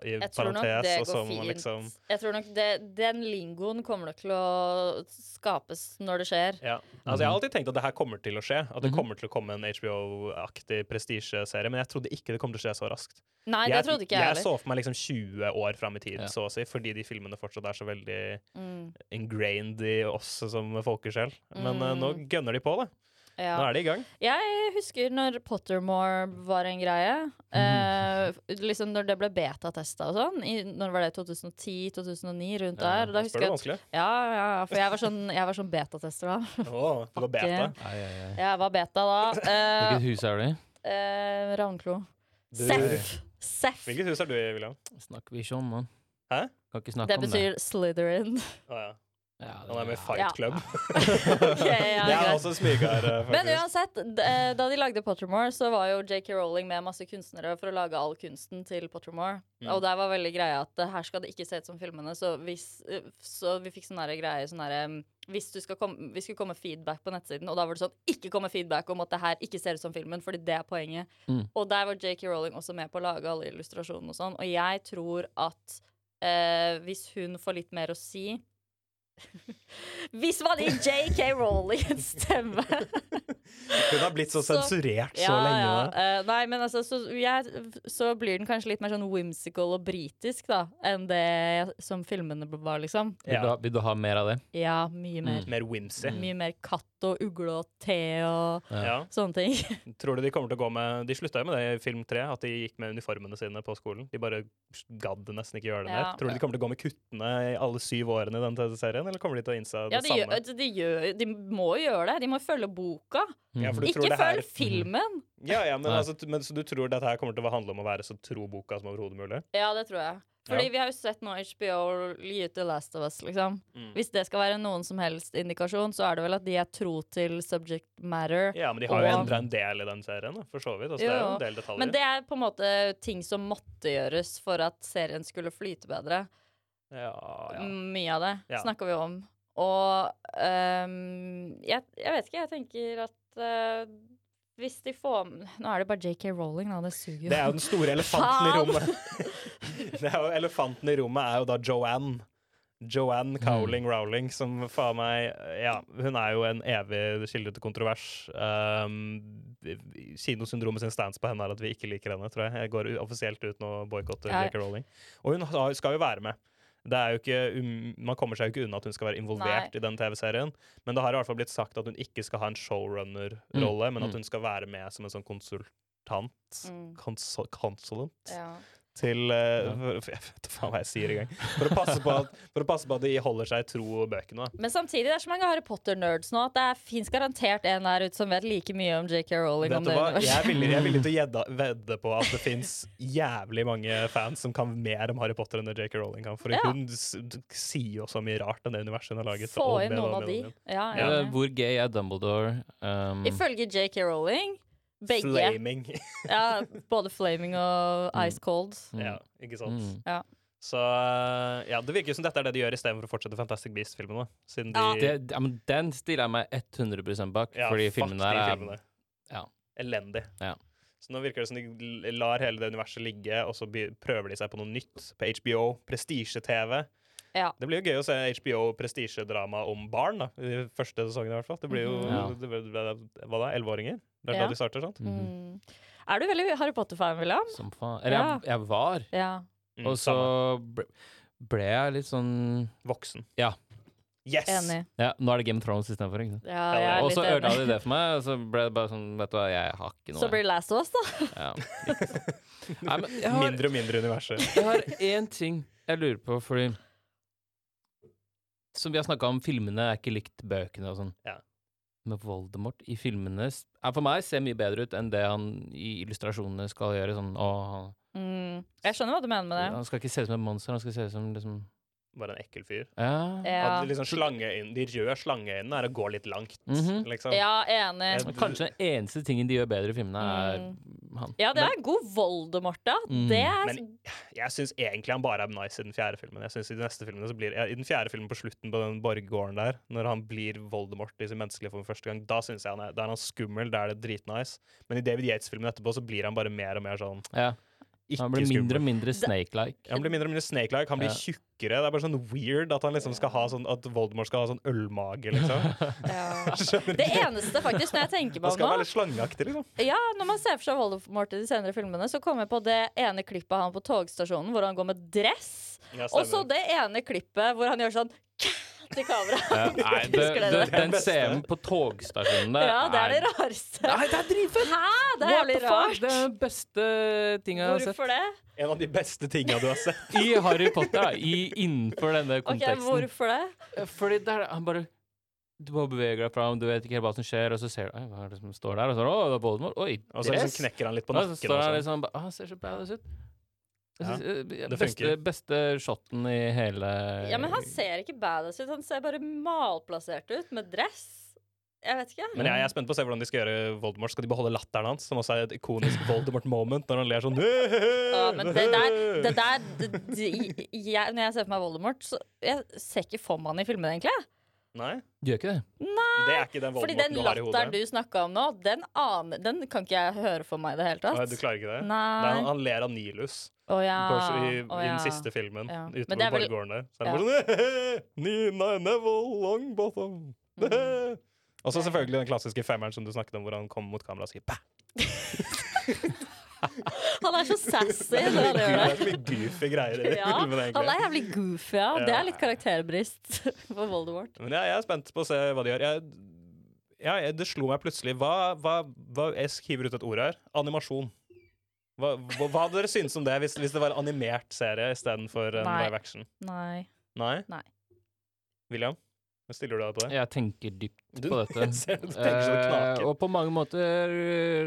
[SPEAKER 4] i
[SPEAKER 3] Jeg tror nok
[SPEAKER 4] parentes?
[SPEAKER 3] det
[SPEAKER 4] Og så
[SPEAKER 3] går
[SPEAKER 4] må man
[SPEAKER 3] fint.
[SPEAKER 4] liksom
[SPEAKER 3] Jeg tror nok det, Den lingoen kommer nok til å skapes når det skjer.
[SPEAKER 4] ja. altså, Jeg har alltid tenkt at det her kommer til å skje. At det kommer til å komme en HBO-aktig prestisjeserie. Men jeg trodde ikke det kom til å skje så raskt.
[SPEAKER 3] Nei, det trodde ikke jeg
[SPEAKER 4] jeg
[SPEAKER 3] heller.
[SPEAKER 4] så for meg liksom 20 år fram i tid,
[SPEAKER 5] Ja.
[SPEAKER 4] så å si, fordi de filmene fortsatt er så veldig
[SPEAKER 3] Mm.
[SPEAKER 4] ingrained i oss som folkesjel. Men eh, nå gønner de på, da.
[SPEAKER 3] Mm. Ja.
[SPEAKER 4] Nå er de i gang.
[SPEAKER 3] Jeg husker når Pottermore var en greie. Eh,
[SPEAKER 5] Mm.
[SPEAKER 3] liksom Når det ble betatesta og sånn. I, når var det? 2010-2009? Rundt der. Da
[SPEAKER 4] Spør
[SPEAKER 3] husker
[SPEAKER 4] du
[SPEAKER 3] jeg at, [laughs]
[SPEAKER 4] vanskelig?
[SPEAKER 3] ja, ja, ja, for jeg var sånn, jeg var sånn betatester da.
[SPEAKER 4] Å, det var beta.
[SPEAKER 3] Ikke-
[SPEAKER 5] Ai, ai, ai.
[SPEAKER 3] Jeg var beta da. Eh,
[SPEAKER 5] Hvilket hus er du i?
[SPEAKER 3] eh, Ravnklo.
[SPEAKER 4] Du-
[SPEAKER 3] Seff! Seff!
[SPEAKER 4] Hvilket hus er du i, William?
[SPEAKER 5] Snakker vi ikke om, mann.
[SPEAKER 4] Hæ?
[SPEAKER 5] Kan ikke snakke
[SPEAKER 3] Det
[SPEAKER 5] om det.
[SPEAKER 3] betyr Slytherin.
[SPEAKER 4] Å [laughs] ja.
[SPEAKER 5] Ja, det
[SPEAKER 4] Han er med i
[SPEAKER 5] ja.
[SPEAKER 3] Ja.
[SPEAKER 4] Fight Club.
[SPEAKER 3] Ok, ja,
[SPEAKER 4] det er
[SPEAKER 3] greit.
[SPEAKER 4] også en smyger. eh,
[SPEAKER 3] Men
[SPEAKER 4] faktisk.
[SPEAKER 3] uansett, d- eh, da de lagde Pottermore, så var jo JK Rowling med masse kunstnere for å lage all kunsten til Pottermore. Og der var veldig greia at eh, her skal det ikke se ut som filmene, så, hvis, eh, så vi fikk sånne her greier sånn her, em, hvis du skal komme, vi skulle komme feedback på nettsiden, og da var det sånn Ikke komme feedback om at det her ikke ser ut som filmen, fordi det er poenget.
[SPEAKER 5] Mm.
[SPEAKER 3] Og der var JK Rowling også med på å lage alle illustrasjonene og sånn. Og jeg tror at eh, hvis hun får litt mer å si [laughs] Hvis man gir JK Rowling en stemme
[SPEAKER 4] Hun har blitt så
[SPEAKER 3] Så-
[SPEAKER 4] sensurert så lenge.
[SPEAKER 3] Ja.
[SPEAKER 4] da.
[SPEAKER 3] Eh, nei, men altså, så, jeg, så blir den kanskje litt mer sånn whimsical og britisk, da, enn det som filmene var, liksom.
[SPEAKER 5] Vil du, ha, vil du ha mer av det?
[SPEAKER 3] Ja, mye mer.
[SPEAKER 4] Mer whimsy.
[SPEAKER 3] Mye mer katt og ugle og te og
[SPEAKER 4] Ja.
[SPEAKER 3] sånne ting.
[SPEAKER 4] Tror du de kommer til å gå med De slutta jo med det i film tre, at de gikk med uniformene sine på skolen. De bare gadd nesten ikke gjøre det mer.
[SPEAKER 3] Ja.
[SPEAKER 4] Tror du de kommer til å gå med kuttene i alle syv årene i den TV-serien, eller kommer de til å innse det
[SPEAKER 3] Ja, de, gjør,
[SPEAKER 4] samme?
[SPEAKER 3] altså, de, gjør, de må jo gjøre det. De må jo følge boka.
[SPEAKER 4] Ja,
[SPEAKER 5] Mm.
[SPEAKER 4] for du tror
[SPEAKER 3] Ikke
[SPEAKER 4] det her-
[SPEAKER 3] følg filmen!
[SPEAKER 4] Ja, ja, men,
[SPEAKER 5] Nei.
[SPEAKER 4] altså, t- men så du tror dette her kommer til å handle om å være så tro boka som overhodet mulig?
[SPEAKER 3] Ja, det tror jeg. Fordi vi har jo sett nå HBO gi ut The Last of Us, liksom.
[SPEAKER 4] Mm.
[SPEAKER 3] Hvis det skal være noen som helst indikasjon, så er det vel at de er tro til subject matter.
[SPEAKER 4] Ja, men de har jo
[SPEAKER 3] Og-
[SPEAKER 4] endra en del i den serien, da, for så vidt. Altså, det er jo
[SPEAKER 3] Jo,
[SPEAKER 4] en del detaljer.
[SPEAKER 3] Men det er på en måte ting som måtte gjøres for at serien skulle flyte bedre.
[SPEAKER 4] ja,
[SPEAKER 3] Mm.
[SPEAKER 4] ja.
[SPEAKER 3] Mye av det
[SPEAKER 4] Ja.
[SPEAKER 3] snakker vi om. Og ehm, jeg, jeg vet ikke, jeg tenker at eh, hvis de får Nå er det bare JK Rowling, da. Det suger jo.
[SPEAKER 4] Det er jo den store elefanten i
[SPEAKER 3] Faen!
[SPEAKER 4] rommet. [laughs] Det er jo, elefanten i rommet er jo da Joanne. Joanne Cowling Rowling, som faen meg Ja, hun er jo en evig kilde til kontrovers. Um, kinosyndromet sin stands på henne er at vi ikke liker henne, tror jeg. Jeg går u- offisielt ut nå og boikotter
[SPEAKER 3] Ja.
[SPEAKER 4] J.K. Rowling. Og hun har- skal jo være med. Det er jo ikke, um, man kommer seg jo ikke unna at hun skal være involvert
[SPEAKER 3] Nei.
[SPEAKER 4] i den TV-serien. Men det har i hvert fall blitt sagt at hun ikke skal ha en showrunner-rolle, men at hun skal være med som en sånn konsultant.
[SPEAKER 3] [laughs] Mm.
[SPEAKER 4] Konsul consultant
[SPEAKER 3] ja.
[SPEAKER 4] til eh, f- Jeg vet da faen hva jeg sier i gang. For å passe på at, for å passe på at de holder seg i tro bøkene. da.
[SPEAKER 3] Men samtidig, det er så mange Harry Potter-nerds nå at det er- fins garantert en der ute som vet like mye om JK Rowling
[SPEAKER 4] Vet
[SPEAKER 3] om
[SPEAKER 4] du
[SPEAKER 3] det
[SPEAKER 4] hva? Jeg er
[SPEAKER 3] universet.
[SPEAKER 4] villig, jeg er villig
[SPEAKER 5] [laughs]
[SPEAKER 4] til å gjedda- vedde på at det fins jævlig mange fans som kan mer om Harry Potter enn det J.K. Rowling kan. For
[SPEAKER 3] Ja.
[SPEAKER 4] hun s d- sier jo så mye rart enn det universet hun har laget.
[SPEAKER 3] Få
[SPEAKER 4] om
[SPEAKER 3] inn
[SPEAKER 4] igjen,
[SPEAKER 3] noen
[SPEAKER 4] om
[SPEAKER 3] av de.
[SPEAKER 4] igjen, om igjen.
[SPEAKER 3] Ja, jeg er
[SPEAKER 5] Eh,
[SPEAKER 3] enig.
[SPEAKER 5] Hvor gay er Dumbledore? Um,
[SPEAKER 3] Ifølge JK Rowling Begge.
[SPEAKER 4] Flaming. [laughs] Mm.
[SPEAKER 3] Ja, både flaming og ice cold.
[SPEAKER 4] ja, ikke sant.
[SPEAKER 5] Mm.
[SPEAKER 3] Ja.
[SPEAKER 4] Så eh, ja, det virker som dette er det de gjør istedenfor å fortsette Fantastic Beast-filmene. Siden de
[SPEAKER 5] Det, ja, men den stiller jeg meg 100 bak,
[SPEAKER 4] Ja,
[SPEAKER 5] fordi
[SPEAKER 4] fuck de
[SPEAKER 5] filmen der er
[SPEAKER 4] filmene.
[SPEAKER 5] ja.
[SPEAKER 4] Elendig.
[SPEAKER 5] Ja.
[SPEAKER 4] Så nå virker det som de l- lar hele det universet ligge, og så be- prøver de seg på noe nytt på HBO. Prestisje-TV.
[SPEAKER 3] Ja.
[SPEAKER 4] Det blir jo gøy å se HBO prestisjedrama om barn, da. I de første sesongen i hvert fall. Det blir jo
[SPEAKER 5] Mhm. Ja.
[SPEAKER 4] det ble, det- Hva da? Elleveåringer? Det er
[SPEAKER 3] Ja.
[SPEAKER 4] da de starter, sant?
[SPEAKER 3] Mm. Er du veldig Harry Potter-fan, William?
[SPEAKER 5] som faen. Eller jeg, jeg var,
[SPEAKER 3] Ja.
[SPEAKER 4] Mm,
[SPEAKER 5] og så
[SPEAKER 4] samme.
[SPEAKER 5] ble, ble jeg litt sånn
[SPEAKER 4] Voksen.
[SPEAKER 5] Ja.
[SPEAKER 4] Yes!
[SPEAKER 3] Enig.
[SPEAKER 5] Ja, nå er det Game of Thrones istedenfor, ikke sant?
[SPEAKER 3] Ja, jeg er
[SPEAKER 5] Og så
[SPEAKER 3] litt
[SPEAKER 5] ødela de
[SPEAKER 3] enig.
[SPEAKER 5] det for meg, og så ble det bare sånn, vet du hva, jeg har ikke noe
[SPEAKER 3] Så blir det Last of Us, da. [laughs]
[SPEAKER 5] ja. Nei, men jeg har,
[SPEAKER 4] Mindre og mindre universet.
[SPEAKER 5] Jeg har én ting jeg lurer på, fordi Som vi har snakka om, filmene er ikke likt bøkene og sånn.
[SPEAKER 4] Ja.
[SPEAKER 5] Men Voldemort i filmene s- er for meg ser mye bedre ut enn det han i illustrasjonene skal gjøre. Sånn, å, han,
[SPEAKER 3] Mm. Jeg skjønner hva du mener med det.
[SPEAKER 5] han skal ikke se ut som et monster, han skal se ut som liksom
[SPEAKER 4] Bare en ekkel fyr.
[SPEAKER 5] Ja.
[SPEAKER 3] Ja,
[SPEAKER 4] At liksom slangeøyne, de røde slangeøynene er å gå litt langt,
[SPEAKER 5] Mhm.
[SPEAKER 4] liksom.
[SPEAKER 3] ja enig.
[SPEAKER 4] Jeg-
[SPEAKER 5] Kanskje den eneste tingen de gjør bedre i filmene, er han.
[SPEAKER 3] Ja, det er god Voldemort, da.
[SPEAKER 5] Mm.
[SPEAKER 3] Det er
[SPEAKER 4] Men jeg syns egentlig han bare er nice i den fjerde filmen. Jeg synes I de neste filmene så blir ja, I den fjerde filmen på slutten på den borggården der, når han blir Voldemort i sin menneskelige form første gang, da synes jeg han er, da er han skummel, da er det dritnice. Men i David Yates-filmen etterpå så blir han bare mer og mer sånn
[SPEAKER 5] Ja.
[SPEAKER 4] ikke
[SPEAKER 5] Han blir mindre og
[SPEAKER 4] skummel.
[SPEAKER 5] mindre snake-like.
[SPEAKER 4] Han blir mindre og mindre snake-like, han blir
[SPEAKER 5] Ja.
[SPEAKER 4] tjukkere. Det er bare sånn weird at han liksom skal ha sånn At Voldemort skal ha sånn ølmage,
[SPEAKER 5] [laughs]
[SPEAKER 4] liksom.
[SPEAKER 3] ja.
[SPEAKER 4] Skjønner
[SPEAKER 3] Det
[SPEAKER 4] ikke.
[SPEAKER 3] eneste, faktisk, når jeg tenker på
[SPEAKER 4] Han
[SPEAKER 3] det
[SPEAKER 4] skal
[SPEAKER 3] nå
[SPEAKER 4] være litt slangeaktig, liksom.
[SPEAKER 3] Ja, når man ser for seg Voldemort i de senere filmene, så kommer jeg på det ene klippet av han på togstasjonen hvor han går med dress,
[SPEAKER 4] Ja,
[SPEAKER 3] og så det ene klippet hvor han gjør sånn [laughs] til kamera.
[SPEAKER 5] Ja, nei,
[SPEAKER 3] [laughs]
[SPEAKER 5] det,
[SPEAKER 3] Husker dere
[SPEAKER 5] det,
[SPEAKER 3] det?
[SPEAKER 5] den scenen på togstasjonen der
[SPEAKER 3] Ja, det er det rareste.
[SPEAKER 5] Nei, det er dritfett!
[SPEAKER 3] Hæ? Det er
[SPEAKER 5] What the
[SPEAKER 3] jævlig
[SPEAKER 5] fuck? Det
[SPEAKER 3] rart.
[SPEAKER 5] er den beste tinga jeg har sett.
[SPEAKER 3] Hvorfor det?
[SPEAKER 4] En av de beste tinga du har sett.
[SPEAKER 5] I Harry Potter, da. I, innenfor denne
[SPEAKER 3] Ok,
[SPEAKER 5] konteksten.
[SPEAKER 3] hvorfor det?
[SPEAKER 5] Eh, Fordi der, han bare Du bare beveger deg fram, du vet ikke helt hva som skjer, og så ser du Oi, hva er det som står der? Og så Å, det er Voldemort. Oi,
[SPEAKER 4] Og så liksom
[SPEAKER 5] dress.
[SPEAKER 4] knekker han litt på
[SPEAKER 5] Og så
[SPEAKER 4] nakken.
[SPEAKER 5] står
[SPEAKER 4] og
[SPEAKER 5] han
[SPEAKER 4] sånn.
[SPEAKER 5] liksom bare Å, han ser så badass ut. Jeg
[SPEAKER 4] Ja,
[SPEAKER 5] synes, eh,
[SPEAKER 4] det
[SPEAKER 5] beste,
[SPEAKER 4] funker.
[SPEAKER 5] beste shoten i hele
[SPEAKER 3] Ja, men han ser ikke badass ut. Han ser bare malplassert ut med dress. Jeg vet ikke.
[SPEAKER 4] Men jeg, jeg er spent på å se hvordan de skal gjøre Voldemort. Skal de beholde latteren hans, som også er et ikonisk Voldemort-moment, når han ler sånn
[SPEAKER 3] Ja, men det der, det der det, de, jeg, Når jeg ser for meg Voldemort, så jeg ser ikke for meg han i filmene, egentlig.
[SPEAKER 4] Nei,
[SPEAKER 5] Gjør ikke det.
[SPEAKER 4] det er ikke den
[SPEAKER 3] Fordi
[SPEAKER 4] Voldemorten
[SPEAKER 3] den
[SPEAKER 4] du har i
[SPEAKER 3] latteren
[SPEAKER 4] hodet.
[SPEAKER 3] du snakka om nå, den, aner, den kan ikke jeg høre for meg i det hele
[SPEAKER 4] Nei,
[SPEAKER 3] tatt.
[SPEAKER 4] du klarer ikke det? Det er, han,
[SPEAKER 3] Nei.
[SPEAKER 4] han ler av Nilus
[SPEAKER 3] Å ja.
[SPEAKER 4] på, i,
[SPEAKER 3] Å
[SPEAKER 4] i
[SPEAKER 3] ja.
[SPEAKER 4] den siste filmen.
[SPEAKER 3] Ja. Men
[SPEAKER 4] Utenfor
[SPEAKER 3] det er vel-
[SPEAKER 4] borggården der. Så er det bare sånn Nina Neville Longbottom.
[SPEAKER 3] Mm.
[SPEAKER 4] [laughs] Og så selvfølgelig den klassiske femmeren som du snakket om, hvor han kommer mot kamera og sier «Bæ!»
[SPEAKER 3] Han er så sassy når han
[SPEAKER 4] Det
[SPEAKER 3] gjør
[SPEAKER 4] er
[SPEAKER 3] det.
[SPEAKER 4] så mye goofy greier i
[SPEAKER 3] [laughs] Ja, han
[SPEAKER 4] filmen,
[SPEAKER 3] er
[SPEAKER 4] egentlig.
[SPEAKER 3] jævlig goofy, ja. Det er litt karakterbrist [laughs] for Voldemort.
[SPEAKER 4] Men jeg, jeg er spent på å se hva de gjør. Jeg, ja, jeg, det slo meg plutselig Hva, hva, hva Jeg skriver ut et ord her. Animasjon. Hva, hva, hva hadde dere syntes om det hvis, hvis det var en animert serie istedenfor en
[SPEAKER 3] Nei.
[SPEAKER 4] live action?
[SPEAKER 3] Nei.
[SPEAKER 4] Nei?
[SPEAKER 3] Nei.
[SPEAKER 4] William, hva stiller du deg på det?
[SPEAKER 5] Jeg tenker dypt
[SPEAKER 4] Du-
[SPEAKER 5] på dette.
[SPEAKER 4] [laughs] ser du tenker så det
[SPEAKER 5] Eh,
[SPEAKER 4] knaker.
[SPEAKER 5] og på mange måter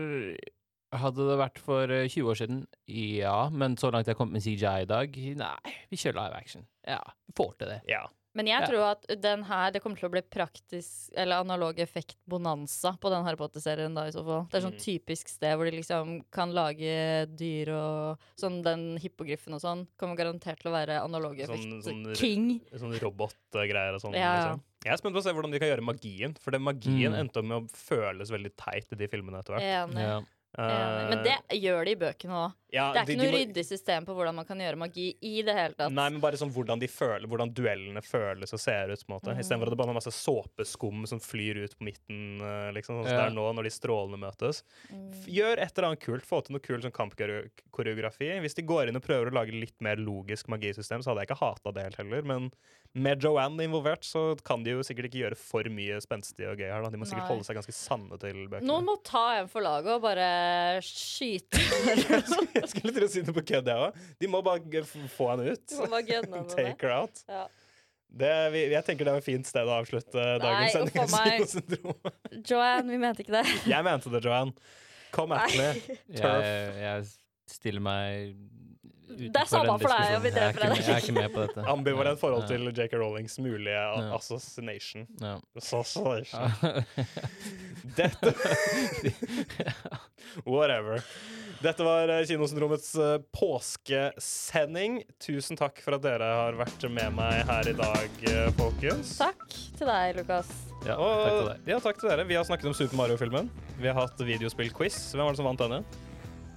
[SPEAKER 5] eh, hadde det vært for eh, 20 år siden, ja. Men så langt jeg har kommet med CJI i dag, nei. Vi kjører live action. Ja, vi får til det.
[SPEAKER 4] Ja.
[SPEAKER 3] Men jeg
[SPEAKER 5] Ja.
[SPEAKER 3] tror at den her, det kommer til å bli praktisk Eller analog effekt-bonanza på den Harry Potter-serien. da i så fall Det er sånn
[SPEAKER 4] Mm.
[SPEAKER 3] typisk sted hvor de liksom kan lage dyr og Sånn den hippogriffen og sånn. Kommer garantert til å være analog
[SPEAKER 4] Sånn- sånn-
[SPEAKER 3] effekt-king.
[SPEAKER 4] Sånn robotgreier og sånn.
[SPEAKER 3] Ja, ja.
[SPEAKER 4] Liksom. Jeg er spent på å se hvordan de kan gjøre magien, for den magien
[SPEAKER 5] Mm.
[SPEAKER 4] endte opp med å føles veldig teit i de filmene etter hvert.
[SPEAKER 3] Enig.
[SPEAKER 5] Ja.
[SPEAKER 4] Eh,
[SPEAKER 3] Enig. Men det gjør de i bøkene òg.
[SPEAKER 4] ja,
[SPEAKER 3] Det er
[SPEAKER 4] de-
[SPEAKER 3] ikke
[SPEAKER 4] de
[SPEAKER 3] noe
[SPEAKER 4] må-
[SPEAKER 3] ryddig system på hvordan man kan gjøre magi i det hele tatt.
[SPEAKER 4] Nei, men bare sånn hvordan de føler Hvordan duellene føles og ser ut. på en måte Istedenfor at det bare er masse såpeskum som flyr ut på midten. eh, Liksom, sånn som
[SPEAKER 5] Ja.
[SPEAKER 4] det er nå når de strålene møtes.
[SPEAKER 3] Mm.
[SPEAKER 4] F- Gjør et eller annet kult. Få til noe kult sånn kampkoreografi. Hvis de går inn og prøver å lage litt mer logisk magisystem, så hadde jeg ikke hata det helt heller. Men med Joanne involvert så kan de jo sikkert ikke gjøre for mye spenstig og gøy her. Da. De må
[SPEAKER 3] Nei.
[SPEAKER 4] sikkert holde seg ganske sanne til bøkene.
[SPEAKER 3] Noen må ta en for laget og bare skyte
[SPEAKER 4] [laughs] [laughs] jeg skulle til å si det på kødd, jeg òg. De må bare g- f- få henne ut.
[SPEAKER 3] Du må bare gønne med det.
[SPEAKER 4] [laughs] Take her out.
[SPEAKER 3] Ja.
[SPEAKER 4] Det, vi, jeg tenker det er et fint sted å avslutte dagens
[SPEAKER 3] Nei,
[SPEAKER 4] sending. av
[SPEAKER 3] uff a meg.
[SPEAKER 4] Syndrom.
[SPEAKER 3] Joanne, vi mente ikke det.
[SPEAKER 4] Jeg mente det, Joanne. Kom at me.
[SPEAKER 5] Jeg, jeg stiller meg
[SPEAKER 3] Det er samme for deg om vi dreper
[SPEAKER 5] deg. Jeg
[SPEAKER 3] deg.
[SPEAKER 5] er ikke med på
[SPEAKER 4] [laughs]
[SPEAKER 5] dette.
[SPEAKER 4] Ambivalent forhold
[SPEAKER 5] Ja.
[SPEAKER 4] til J.K. Rowlings mulige a-
[SPEAKER 5] Ja.
[SPEAKER 4] assassination.
[SPEAKER 5] Ja.
[SPEAKER 4] Assassination. Dette Whatever. Dette var eh, Kinosyndromets eh, påskesending. Tusen takk for at dere har vært med meg her i dag, eh, folkens.
[SPEAKER 3] Takk til deg, Lukas.
[SPEAKER 5] [laughs] Ja,
[SPEAKER 4] Og,
[SPEAKER 5] takk til deg.
[SPEAKER 4] Ja, takk til dere. Vi har snakket om Super Mario-filmen. Vi har hatt videospill-quiz. Hvem var det som vant denne?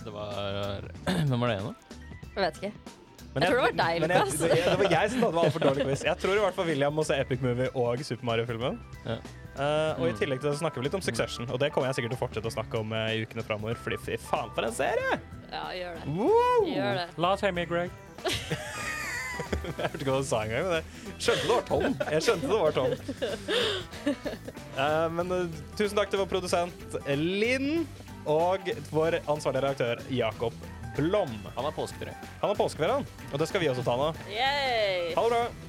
[SPEAKER 5] Det var eh, [clears throat] Hvem var det igjen, da?
[SPEAKER 3] Jeg vet ikke.
[SPEAKER 4] Men
[SPEAKER 3] Jeg tror det var deg,
[SPEAKER 4] men jeg-
[SPEAKER 3] Lukas.
[SPEAKER 4] Det, det var jeg som hadde altfor dårlig quiz. Jeg tror i hvert fall William må se Epic Movie og Super Mario-filmen.
[SPEAKER 5] Ja. Mm.
[SPEAKER 4] Eh, og i tillegg til det så snakker vi litt om Succession, og det kommer jeg sikkert til å fortsette å snakke om eh, i ukene framover, fordi fy faen for en serie!
[SPEAKER 3] Ja, gjør det.
[SPEAKER 4] Woo!
[SPEAKER 3] Gjør det.
[SPEAKER 4] La oss hjemme, Greg. jeg hørte ikke hva du sa engang, men jeg skjønte det var Tom. Jeg skjønte det var Tom. Eh, men eh, tusen takk til vår produsent Linn og vår ansvarlige redaktør Jakob Blom.
[SPEAKER 5] Han har påskeferie.
[SPEAKER 4] Han har påskeferie, han, og det skal vi også ta nå.
[SPEAKER 3] Yay!
[SPEAKER 4] Ha det bra!